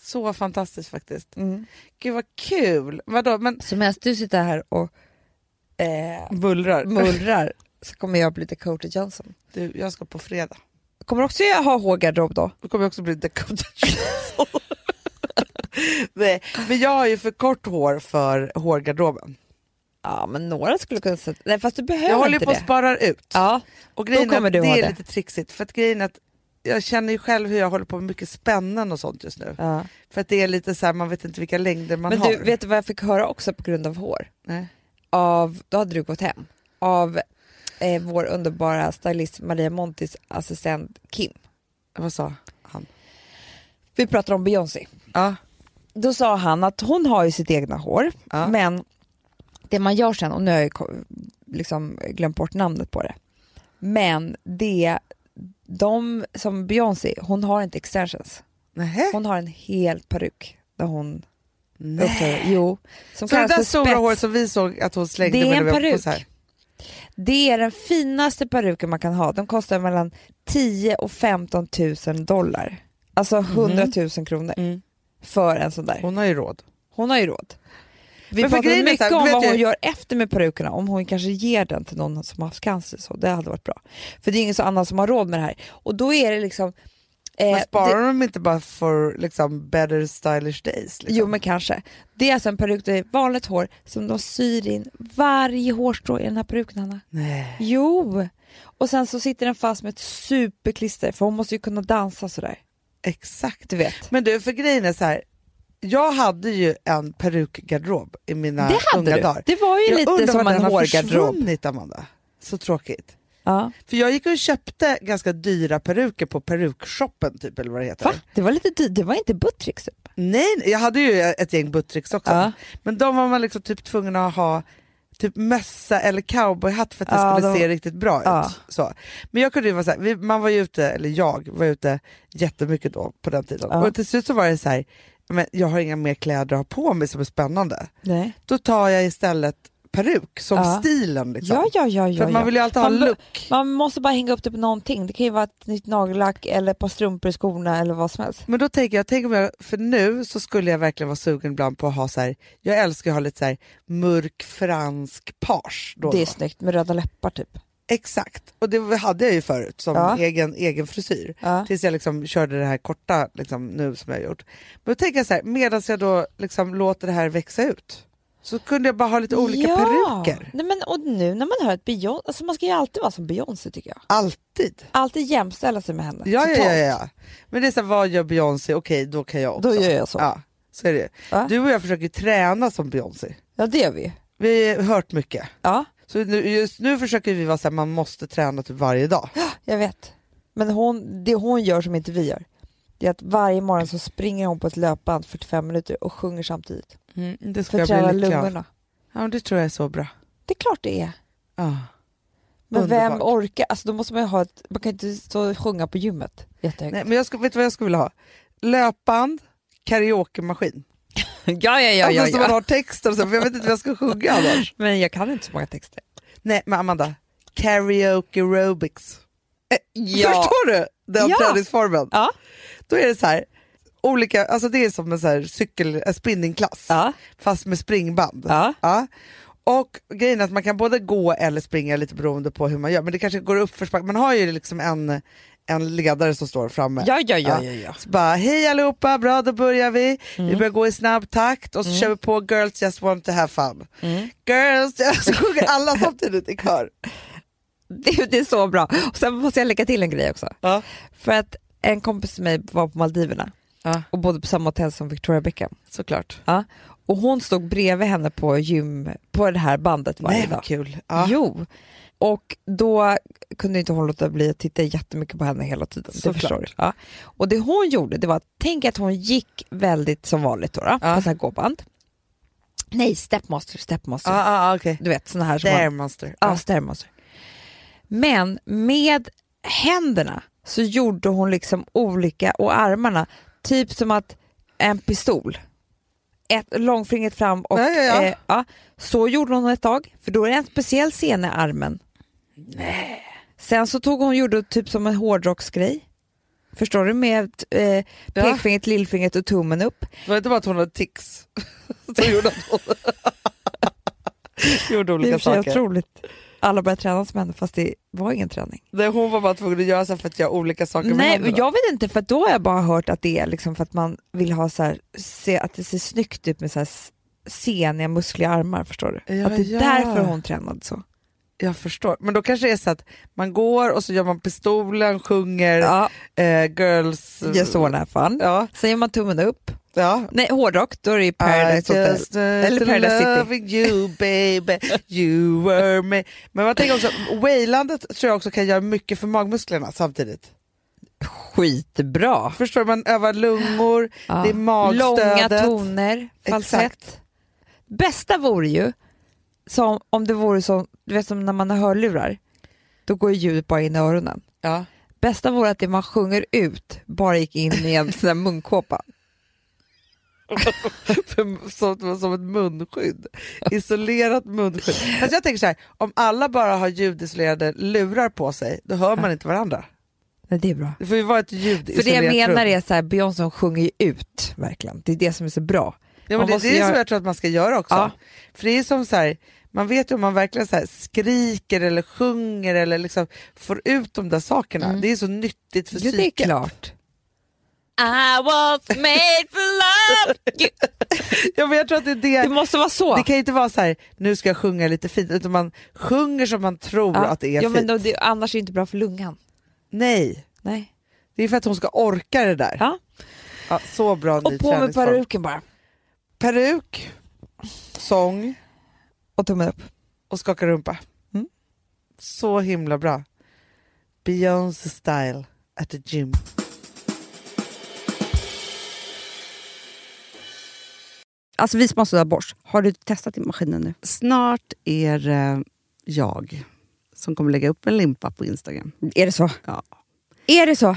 Speaker 1: Så fantastiskt faktiskt.
Speaker 2: Mm.
Speaker 1: Gud vad kul! Vadå, men
Speaker 2: Så medan du sitter här och eh,
Speaker 1: bullrar?
Speaker 2: mullrar så kommer jag bli Dakota Johnson.
Speaker 1: Du, jag ska på fredag.
Speaker 2: Kommer också jag ha hårgarderob då?
Speaker 1: Då kommer jag också bli Dakota Johnson. Nej, men jag har ju för kort hår för hårgarderoben.
Speaker 2: Ja, men några skulle kunna sätta... Nej, fast du behöver
Speaker 1: Jag håller ju
Speaker 2: inte
Speaker 1: på att
Speaker 2: det.
Speaker 1: spara ut.
Speaker 2: Ja,
Speaker 1: Och grejen
Speaker 2: kommer
Speaker 1: är,
Speaker 2: du
Speaker 1: det
Speaker 2: ha
Speaker 1: är
Speaker 2: det.
Speaker 1: lite trixigt, för att grejen är att jag känner ju själv hur jag håller på med mycket spännen och sånt just nu.
Speaker 2: ja.
Speaker 1: För att det är lite så här, man vet inte vilka längder man
Speaker 2: Men
Speaker 1: har.
Speaker 2: du, vet du vad jag fick höra också på grund av hår?
Speaker 1: Nej.
Speaker 2: Av, då hade du gått hem. Av eh, vår underbara stylist Maria Montis assistent Kim.
Speaker 1: Vad sa han?
Speaker 2: Vi pratar om Beyoncé.
Speaker 1: Ja,
Speaker 2: Då sa han att hon har ju sitt egna hår,
Speaker 1: Ja.
Speaker 2: men det man gör sen, och nu har jag ju ko- liksom glömt bort namnet på det, men det, de som Beyoncé, hon har inte extensions.
Speaker 1: Nähä.
Speaker 2: Hon har en hel peruk där hon
Speaker 1: Nej.
Speaker 2: uppträder. Jo, som
Speaker 1: Så det
Speaker 2: kallas
Speaker 1: där
Speaker 2: för
Speaker 1: stora
Speaker 2: spets.
Speaker 1: håret som vi såg att hon slängde
Speaker 2: Det är
Speaker 1: medan
Speaker 2: en
Speaker 1: vi var på
Speaker 2: peruk.
Speaker 1: konsert.
Speaker 2: Det är den finaste peruken man kan ha. De kostar mellan 10 och 15 000 dollar. Alltså
Speaker 1: Mhm.
Speaker 2: 100 000 kronor
Speaker 1: Mm.
Speaker 2: för en sån där.
Speaker 1: Hon har ju råd.
Speaker 2: Hon har ju råd. Vi
Speaker 1: Men för
Speaker 2: pratade
Speaker 1: grejen är så här,
Speaker 2: mycket
Speaker 1: du
Speaker 2: om
Speaker 1: vet
Speaker 2: vad
Speaker 1: ju-
Speaker 2: hon gör efter med perukerna, om hon kanske ger den till någon som har haft cancer. Så det hade varit bra. För det är ingen så annan som har råd med det här. Och då är det liksom... eh,
Speaker 1: Men
Speaker 2: det-
Speaker 1: sparar de inte bara för liksom, better stylish days? Liksom?
Speaker 2: Jo men kanske. Det är alltså en peruk, det är vanligt hår som de syr in varje hårstrå i den här peruken Hanna.
Speaker 1: Nej.
Speaker 2: Jo! Och sen så sitter den fast med ett superklister för hon måste ju kunna dansa sådär.
Speaker 1: Exakt.
Speaker 2: Du vet.
Speaker 1: Men du, för grejen är så här. Jag hade ju en perukgarderob i mina
Speaker 2: det hade
Speaker 1: unga
Speaker 2: du.
Speaker 1: dagar.
Speaker 2: Det var ju
Speaker 1: jag
Speaker 2: lite
Speaker 1: undrar
Speaker 2: som
Speaker 1: vad
Speaker 2: en
Speaker 1: den har
Speaker 2: hårgarderob.
Speaker 1: försvunnit Amanda. Så tråkigt.
Speaker 2: Ja.
Speaker 1: För jag gick och köpte ganska dyra peruker på perukshoppen typ eller vad det heter.
Speaker 2: Va? Det var lite dyrt, det var inte Buttricks typ.
Speaker 1: Nej, nej, jag hade ju ett gäng buttricks också.
Speaker 2: Ja.
Speaker 1: Men de var man liksom typ tvungen att ha typ mössa eller cowboyhatt för att det
Speaker 2: Ja,
Speaker 1: skulle
Speaker 2: de-
Speaker 1: se riktigt bra
Speaker 2: Ja.
Speaker 1: ut. Så. Men jag kunde ju vara så här, vi, man var ju ute, eller jag var ute jättemycket då på den tiden.
Speaker 2: Ja.
Speaker 1: Och till slut så var det så här, men jag har inga mer kläder att ha på mig som är spännande.
Speaker 2: Nej.
Speaker 1: Då tar jag istället peruk som
Speaker 2: Ja.
Speaker 1: stilen liksom.
Speaker 2: Ja, ja, ja,
Speaker 1: för
Speaker 2: ja.
Speaker 1: att man
Speaker 2: ja.
Speaker 1: vill ju alltid ha
Speaker 2: Man bör-
Speaker 1: look.
Speaker 2: Man måste bara hänga upp det på någonting. Det kan ju vara ett nytt nagellack eller ett par strumpor i skorna eller vad som helst.
Speaker 1: Men då tänker jag, tänk om jag, för nu så skulle jag verkligen vara sugen ibland på att ha så här, jag älskar att ha lite så här mörk fransk page. Då och
Speaker 2: Det är
Speaker 1: då.
Speaker 2: snyggt med röda läppar typ.
Speaker 1: Exakt, och det hade jag ju förut som
Speaker 2: Ja.
Speaker 1: egen, egen frisyr.
Speaker 2: Ja.
Speaker 1: Tills jag liksom körde det här korta liksom, nu som jag har gjort. Men då tänker jag så här, medan jag då liksom låter det här växa ut så kunde jag bara ha lite olika
Speaker 2: ja.
Speaker 1: peruker.
Speaker 2: Nej, men, och nu när man hör ett Beyoncé, alltså man ska ju alltid vara som Beyoncé tycker jag.
Speaker 1: Alltid.
Speaker 2: Alltid jämställa sig med henne.
Speaker 1: Ja, ja,
Speaker 2: totalt.
Speaker 1: ja, ja. Men det är så här, vad gör Beyoncé? Okej, då kan jag också.
Speaker 2: Då gör jag så. Ja,
Speaker 1: Ja, så är det.
Speaker 2: Ja.
Speaker 1: Du och jag försöker träna som Beyoncé.
Speaker 2: det gör vi ju.
Speaker 1: Vi har hört mycket.
Speaker 2: Ja,
Speaker 1: Så nu, just nu försöker vi vara så här, man måste träna typ varje dag.
Speaker 2: jag vet. Men hon, det hon gör som inte vi gör, det är att varje morgon så springer hon på ett löpband 45 minuter och sjunger samtidigt.
Speaker 1: Mm, det ska
Speaker 2: För att
Speaker 1: jag bli
Speaker 2: träna
Speaker 1: lycklig av.
Speaker 2: lungorna.
Speaker 1: Ja, men det tror jag är så bra.
Speaker 2: Det är klart det är.
Speaker 1: Ja.
Speaker 2: Men vem
Speaker 1: Underbart.
Speaker 2: orkar? Alltså då måste man ju ha ett, man kan inte stå och sjunga på gymmet jättehögt.
Speaker 1: Nej, men jag ska, vet du vad jag skulle vilja ha? Löpband, karaokemaskin.
Speaker 2: ja, ja, ja,
Speaker 1: alltså,
Speaker 2: ja,
Speaker 1: Så man
Speaker 2: ja.
Speaker 1: har texter och så, för jag vet inte vad jag ska sjunga annars.
Speaker 2: Men jag kan inte så många texter.
Speaker 1: Nej, men Amanda, karaoke aerobics.
Speaker 2: Ja,
Speaker 1: Förstår du den
Speaker 2: Ja.
Speaker 1: träningsformen?
Speaker 2: Ja.
Speaker 1: Då är det så här, olika, alltså det är som en så här cykel, en spinningklass,
Speaker 2: ja,
Speaker 1: fast med springband.
Speaker 2: ja.
Speaker 1: Ja. Och grejen är att man kan både gå eller springa lite beroende på hur man gör, men det kanske går upp för Man har ju liksom en, en ledare som står framme.
Speaker 2: Ja, ja, ja,
Speaker 1: Ja.
Speaker 2: ja, ja.
Speaker 1: Så bara, hej allihopa, bra då börjar vi. Vi börjar gå i snabb takt och så kör vi på Girls just want to have fun.
Speaker 2: Mm.
Speaker 1: Girls just, så sjunger alla samtidigt i kör.
Speaker 2: Det, det är så bra. Och sen måste jag lägga till en grej också.
Speaker 1: Ja.
Speaker 2: För att en kompis till mig var på Maldiverna
Speaker 1: Ja.
Speaker 2: och bodde på samma hotell som Victoria Beckham.
Speaker 1: Såklart.
Speaker 2: Ja. Och hon stod bredvid henne på gym, på det här bandet varje
Speaker 1: Nej
Speaker 2: dag.
Speaker 1: vad kul. Ja.
Speaker 2: Jo. Och då kunde inte hon låta bli att titta jättemycket på henne hela tiden. Det
Speaker 1: Såklart.
Speaker 2: förstår du. Ja. Och det hon gjorde, det var att tänk att hon gick väldigt som vanligt då, då
Speaker 1: Ja.
Speaker 2: på så här gåband. Nej, stepmaster, stepmaster.
Speaker 1: Ja, ja, ja, okej.
Speaker 2: Du vet sådana här som man-
Speaker 1: Stairmaster.
Speaker 2: Ja, stairmaster. Men med händerna så gjorde hon liksom olika, och armarna, typ som att en pistol. Ett, långfingret fram och...
Speaker 1: Ja, ja, ja.
Speaker 2: Eh, ja, så gjorde hon ett tag, för då är det en speciell scen i armen. Sen så tog hon gjorde typ som en hårdrocksgrej. Förstår du? Med eh, pekfingret, lillfingret och tummen upp.
Speaker 1: Det var inte bara att hon hade tics. Så gjorde hon, gjorde
Speaker 2: Det är i
Speaker 1: olika
Speaker 2: och för sig
Speaker 1: saker.
Speaker 2: otroligt.
Speaker 5: alla började träna som henne fast det var ingen träning.
Speaker 6: Nej, hon var bara tvungen att göra så för att göra olika saker med
Speaker 5: Nej,
Speaker 6: händerna.
Speaker 5: jag vet inte för då har jag bara hört att det är liksom för att man vill ha så här, se att det ser snyggt ut med så här s- seniga muskliga armar förstår du.
Speaker 6: Ja,
Speaker 5: att det är
Speaker 6: ja.
Speaker 5: därför hon tränade så.
Speaker 6: Jag förstår. Men då kanske det är så att man går och så gör man pistolen, sjunger
Speaker 5: Ja,
Speaker 6: eh, girls... eh,
Speaker 5: just all have fun.
Speaker 6: Ja,
Speaker 5: Sen gör man tummen upp.
Speaker 6: ja.
Speaker 5: Nej, hårdrock, då är det ju Paradise
Speaker 6: I
Speaker 5: Hotel.
Speaker 6: just Eller
Speaker 5: Paradise City.
Speaker 6: loving you baby, you were me. Men man tänker också, wailandet tror jag också kan göra mycket för magmusklerna samtidigt.
Speaker 5: Skitbra.
Speaker 6: Förstår du? Man övar lungor,
Speaker 5: Ja.
Speaker 6: det är magstödet.
Speaker 5: Långa toner, falsett.
Speaker 6: Exakt.
Speaker 5: Bästa vore ju som, om det vore som, du vet, som när man har hörlurar, då går ju ljudet bara in i öronen.
Speaker 6: Ja.
Speaker 5: Bästa vore att det man sjunger ut bara gick in i en sån där munkåpa.
Speaker 6: För- som, som ett munskydd. Isolerat munskydd. Fast jag tänker så här, om alla bara har ljudisolerade lurar på sig, då hör man inte varandra.
Speaker 5: Nej, det är bra.
Speaker 6: Det får ju vara ett ljudisolerat
Speaker 5: För det jag menar
Speaker 6: rum.
Speaker 5: är så här, Beyoncé hon sjunger ju ut verkligen. Det är det som är så bra.
Speaker 6: Ja, men
Speaker 5: Man
Speaker 6: det,
Speaker 5: måste
Speaker 6: det är
Speaker 5: göra-
Speaker 6: som jag tror att man ska göra också.
Speaker 5: Ja.
Speaker 6: För det är som så här, man vet ju om man verkligen så här skriker eller sjunger eller liksom får ut de där sakerna.
Speaker 5: Mm.
Speaker 6: Det är så nyttigt för
Speaker 5: Jo, det är
Speaker 6: psyket.
Speaker 5: klart. I was made for love.
Speaker 6: Ja, men jag tror att det, är
Speaker 5: Det
Speaker 6: det,
Speaker 5: måste vara så.
Speaker 6: det kan ju inte vara så här, nu ska jag sjunga lite fint, utan man sjunger som man tror
Speaker 5: ja.
Speaker 6: att det är
Speaker 5: ja,
Speaker 6: fint.
Speaker 5: men då, det, annars är det inte bra för lungan.
Speaker 6: Nej,
Speaker 5: Nej.
Speaker 6: det är för att hon ska orka det där.
Speaker 5: Ja.
Speaker 6: Ja, så bra ny
Speaker 5: Och på med
Speaker 6: träningsform.
Speaker 5: peruken bara.
Speaker 6: Peruk, sång
Speaker 5: Och tummen upp.
Speaker 6: och skaka rumpa.
Speaker 5: Mm.
Speaker 6: Så himla bra. Beyoncé style at the gym.
Speaker 2: Alltså vi som har sådär borst, har du testat i maskinen nu?
Speaker 1: Snart är det jag som kommer lägga upp en limpa på Instagram.
Speaker 2: Är det så?
Speaker 1: Ja.
Speaker 2: Är det så?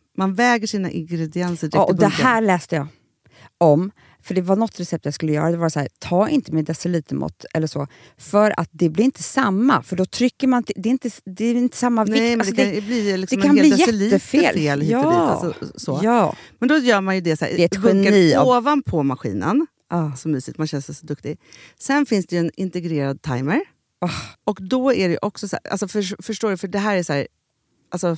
Speaker 1: man väger sina ingredienser direkt
Speaker 2: Ja, och
Speaker 1: i
Speaker 2: det
Speaker 1: bunken.
Speaker 2: här läste jag om. För det var något recept jag skulle göra. Det var så här, ta inte med decilitermått eller så. För att det blir inte samma. För då trycker man... till- Det är inte, det är inte samma vikt.
Speaker 1: Nej, men
Speaker 2: Alltså,
Speaker 1: det kan ju bli liksom
Speaker 2: det kan
Speaker 1: en hel
Speaker 2: bli
Speaker 1: deciliter
Speaker 2: jättefel.
Speaker 1: fel hit och dit.
Speaker 2: Ja.
Speaker 1: Alltså, så.
Speaker 2: Ja.
Speaker 1: Men då gör man ju det så här,
Speaker 2: Det är ett
Speaker 1: dunkar
Speaker 2: geni av-
Speaker 1: ovanpå maskinen.
Speaker 2: Ah.
Speaker 1: Så mysigt, man känns så duktig. Sen finns det ju en integrerad timer.
Speaker 2: Ah.
Speaker 1: Och då är det ju också så här, alltså för, förstår du, för det här är så här, alltså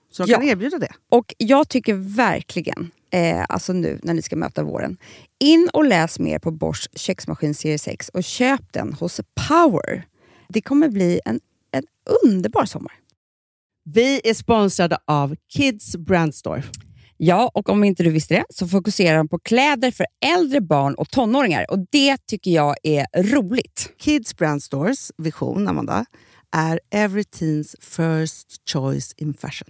Speaker 1: Så de
Speaker 2: Ja.
Speaker 1: kan erbjuda det.
Speaker 2: Och jag tycker verkligen, eh, alltså nu när ni ska möta våren, in och läs mer på Bosch köksmaskin serie 6 och köp den hos Power. Det kommer bli en, en underbar sommar.
Speaker 1: Vi är sponsrade av Kids Brand Store.
Speaker 2: Ja, och om inte du visste det så fokuserar de på kläder för äldre barn och tonåringar och det tycker jag är roligt.
Speaker 1: Kids Brand Stores vision, Amanda, är every teens first choice in fashion.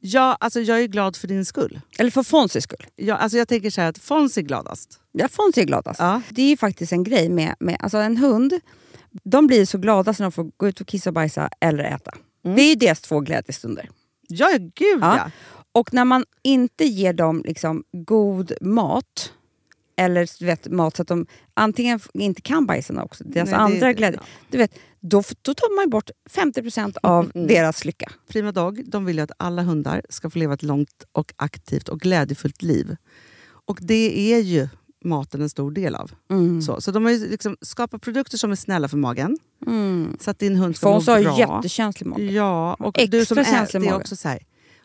Speaker 7: Ja, alltså jag är glad för din skull.
Speaker 2: Eller för Fonzys skull.
Speaker 7: Jag, alltså jag tänker så här att Fons är gladast.
Speaker 2: Ja, Fonzie är gladast.
Speaker 7: Ja.
Speaker 2: alltså. Det är ju faktiskt en grej med, med alltså en hund. De blir så glada när de får gå ut och kissa och bajsa eller äta.
Speaker 7: Mm.
Speaker 2: Det är ju deras två glädjestunder.
Speaker 7: Ja, ja, gud
Speaker 2: Ja.
Speaker 7: ja.
Speaker 2: Och när man inte ger dem liksom god mat, eller du vet, mat så att de antingen f- inte kan bajsarna också, deras
Speaker 7: Nej, det-
Speaker 2: andra
Speaker 7: det-
Speaker 2: glädje,
Speaker 7: ja.
Speaker 2: du vet, då, f- då tar man ju bort 50% av
Speaker 7: Mm.
Speaker 2: deras lycka.
Speaker 7: Prima Dog de vill ju att alla hundar ska få leva ett långt och aktivt och glädjefullt liv. Och det är ju maten en stor del av.
Speaker 2: Mm.
Speaker 7: Så, så de har ju liksom skapat produkter som är snälla för magen. Så att din hund Mm. ska
Speaker 2: Fons
Speaker 7: må
Speaker 2: har
Speaker 7: bra. Mm.
Speaker 2: ju jättekänslig mage.
Speaker 7: Ja, och
Speaker 2: Extra
Speaker 7: du som äter,
Speaker 2: känslig
Speaker 7: det är
Speaker 2: mage.
Speaker 7: också så här.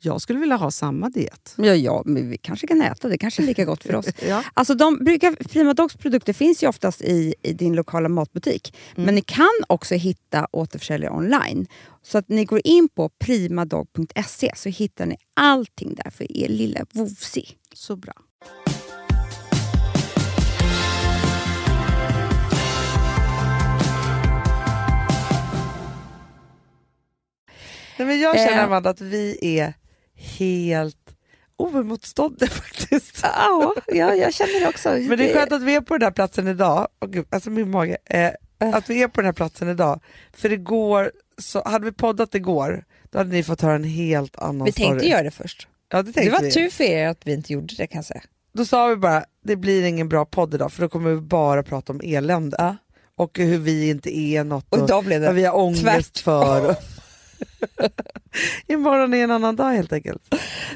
Speaker 7: Jag skulle vilja ha samma diet.
Speaker 2: ja, ja, men vi kanske kan äta. Det kanske är lika gott för oss.
Speaker 7: Ja.
Speaker 2: Alltså de brukar, Prima Dogs produkter finns ju oftast i, i din lokala matbutik.
Speaker 8: Mm.
Speaker 2: Men ni kan också hitta återförsäljare online. Så att ni går in på primadog.se så hittar ni allting där för er lilla vovsi.
Speaker 7: Så bra.
Speaker 1: Nej, men jag
Speaker 2: Eh.
Speaker 1: känner Amanda att vi är helt oemotståndliga faktiskt.
Speaker 2: Ja, ja, jag känner det också.
Speaker 1: Men det är skönt att vi är på den här platsen idag. Åh gud, alltså min mage. Eh, att vi är på den här platsen idag. För igår, så, hade vi poddat igår, då hade ni fått höra en helt annan
Speaker 8: Vi
Speaker 1: story.
Speaker 8: tänkte göra det först.
Speaker 1: Ja, det tänkte
Speaker 8: Det var
Speaker 1: vi.
Speaker 8: tur för er att vi inte gjorde det kan jag säga.
Speaker 1: Då sa vi bara, det blir ingen bra podd idag för då kommer vi bara prata om elände.
Speaker 8: Ja.
Speaker 1: Och hur vi inte är något
Speaker 8: Och idag blev
Speaker 1: vad
Speaker 8: det...
Speaker 1: vi har ångest
Speaker 8: Tvärt-
Speaker 1: för. Imorgon är en annan dag helt enkelt.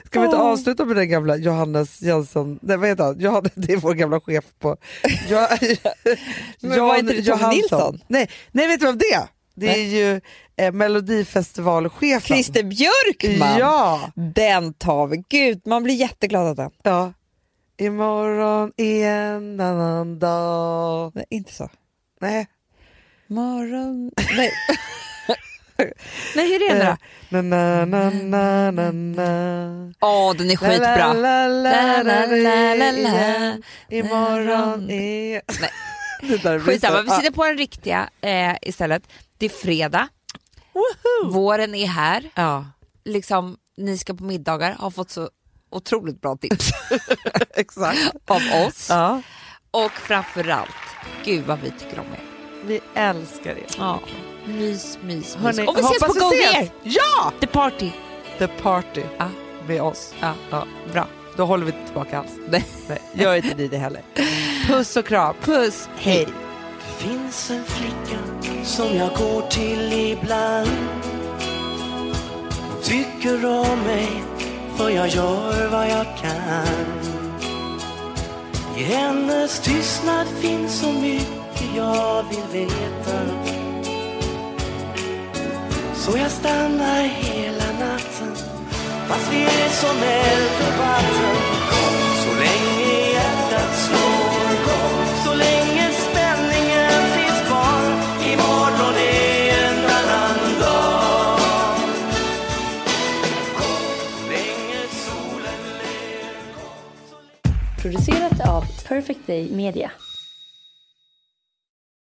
Speaker 1: Ska vi inte
Speaker 8: Åh.
Speaker 1: avsluta med den gamla Johannes Jönsson, nej vad heter han? Johannes, det är vår gamla chef på... Jo,
Speaker 8: Men var inte det Tove Nilsson?
Speaker 1: Nej, nej vet du vem det är? Det är ju eh, Melodifestivalchefen.
Speaker 8: Christer Björkman!
Speaker 1: Ja!
Speaker 8: Den tar vi. Gud, man blir jätteglad av den.
Speaker 1: ja! Imorgon är en annan dag.
Speaker 8: Nej, inte så.
Speaker 1: Nej.
Speaker 8: Morgon... Nej.
Speaker 2: Men hur är det
Speaker 1: eh,
Speaker 2: då?
Speaker 1: Na, na, na, na, na, na.
Speaker 8: Åh, den är
Speaker 1: La,
Speaker 8: skitbra.
Speaker 1: la, la, la, la, la, la.
Speaker 8: la.
Speaker 1: Imorgon är... Det där blir
Speaker 8: Skitsamma,
Speaker 1: så-
Speaker 8: vi sitter på den riktiga eh, istället. Det är fredag, våren är här,
Speaker 1: Ja,
Speaker 8: liksom, ni ska på middagar, har fått så otroligt bra tips
Speaker 1: exakt.
Speaker 8: av oss.
Speaker 1: Ja.
Speaker 8: Och framförallt, gud vad vi tycker om er.
Speaker 1: Vi älskar er.
Speaker 8: Ja. Mys, mys, mys.
Speaker 1: Hörrni,
Speaker 8: och vi ses på
Speaker 1: hoppas vi
Speaker 8: Go
Speaker 1: ses.
Speaker 8: Gear! Ja! The party.
Speaker 1: The party
Speaker 8: Ja.
Speaker 1: med oss.
Speaker 8: Ja. Bra.
Speaker 1: Då håller vi inte tillbaka alls.
Speaker 8: Nej.
Speaker 1: Nej, gör inte ni det heller. Puss och kram.
Speaker 8: Puss, hej.
Speaker 9: finns en flicka som jag går till ibland Hon tycker om mig för jag gör vad jag kan I hennes tystnad finns så mycket jag vill veta Så jag stannar hela natten fast vi är som eld och vatten Så länge hjärtat slår så länge spänningen finns kvar Imorgon är en annan dag Så länge solen ler
Speaker 10: producerat av Perfect Day Media.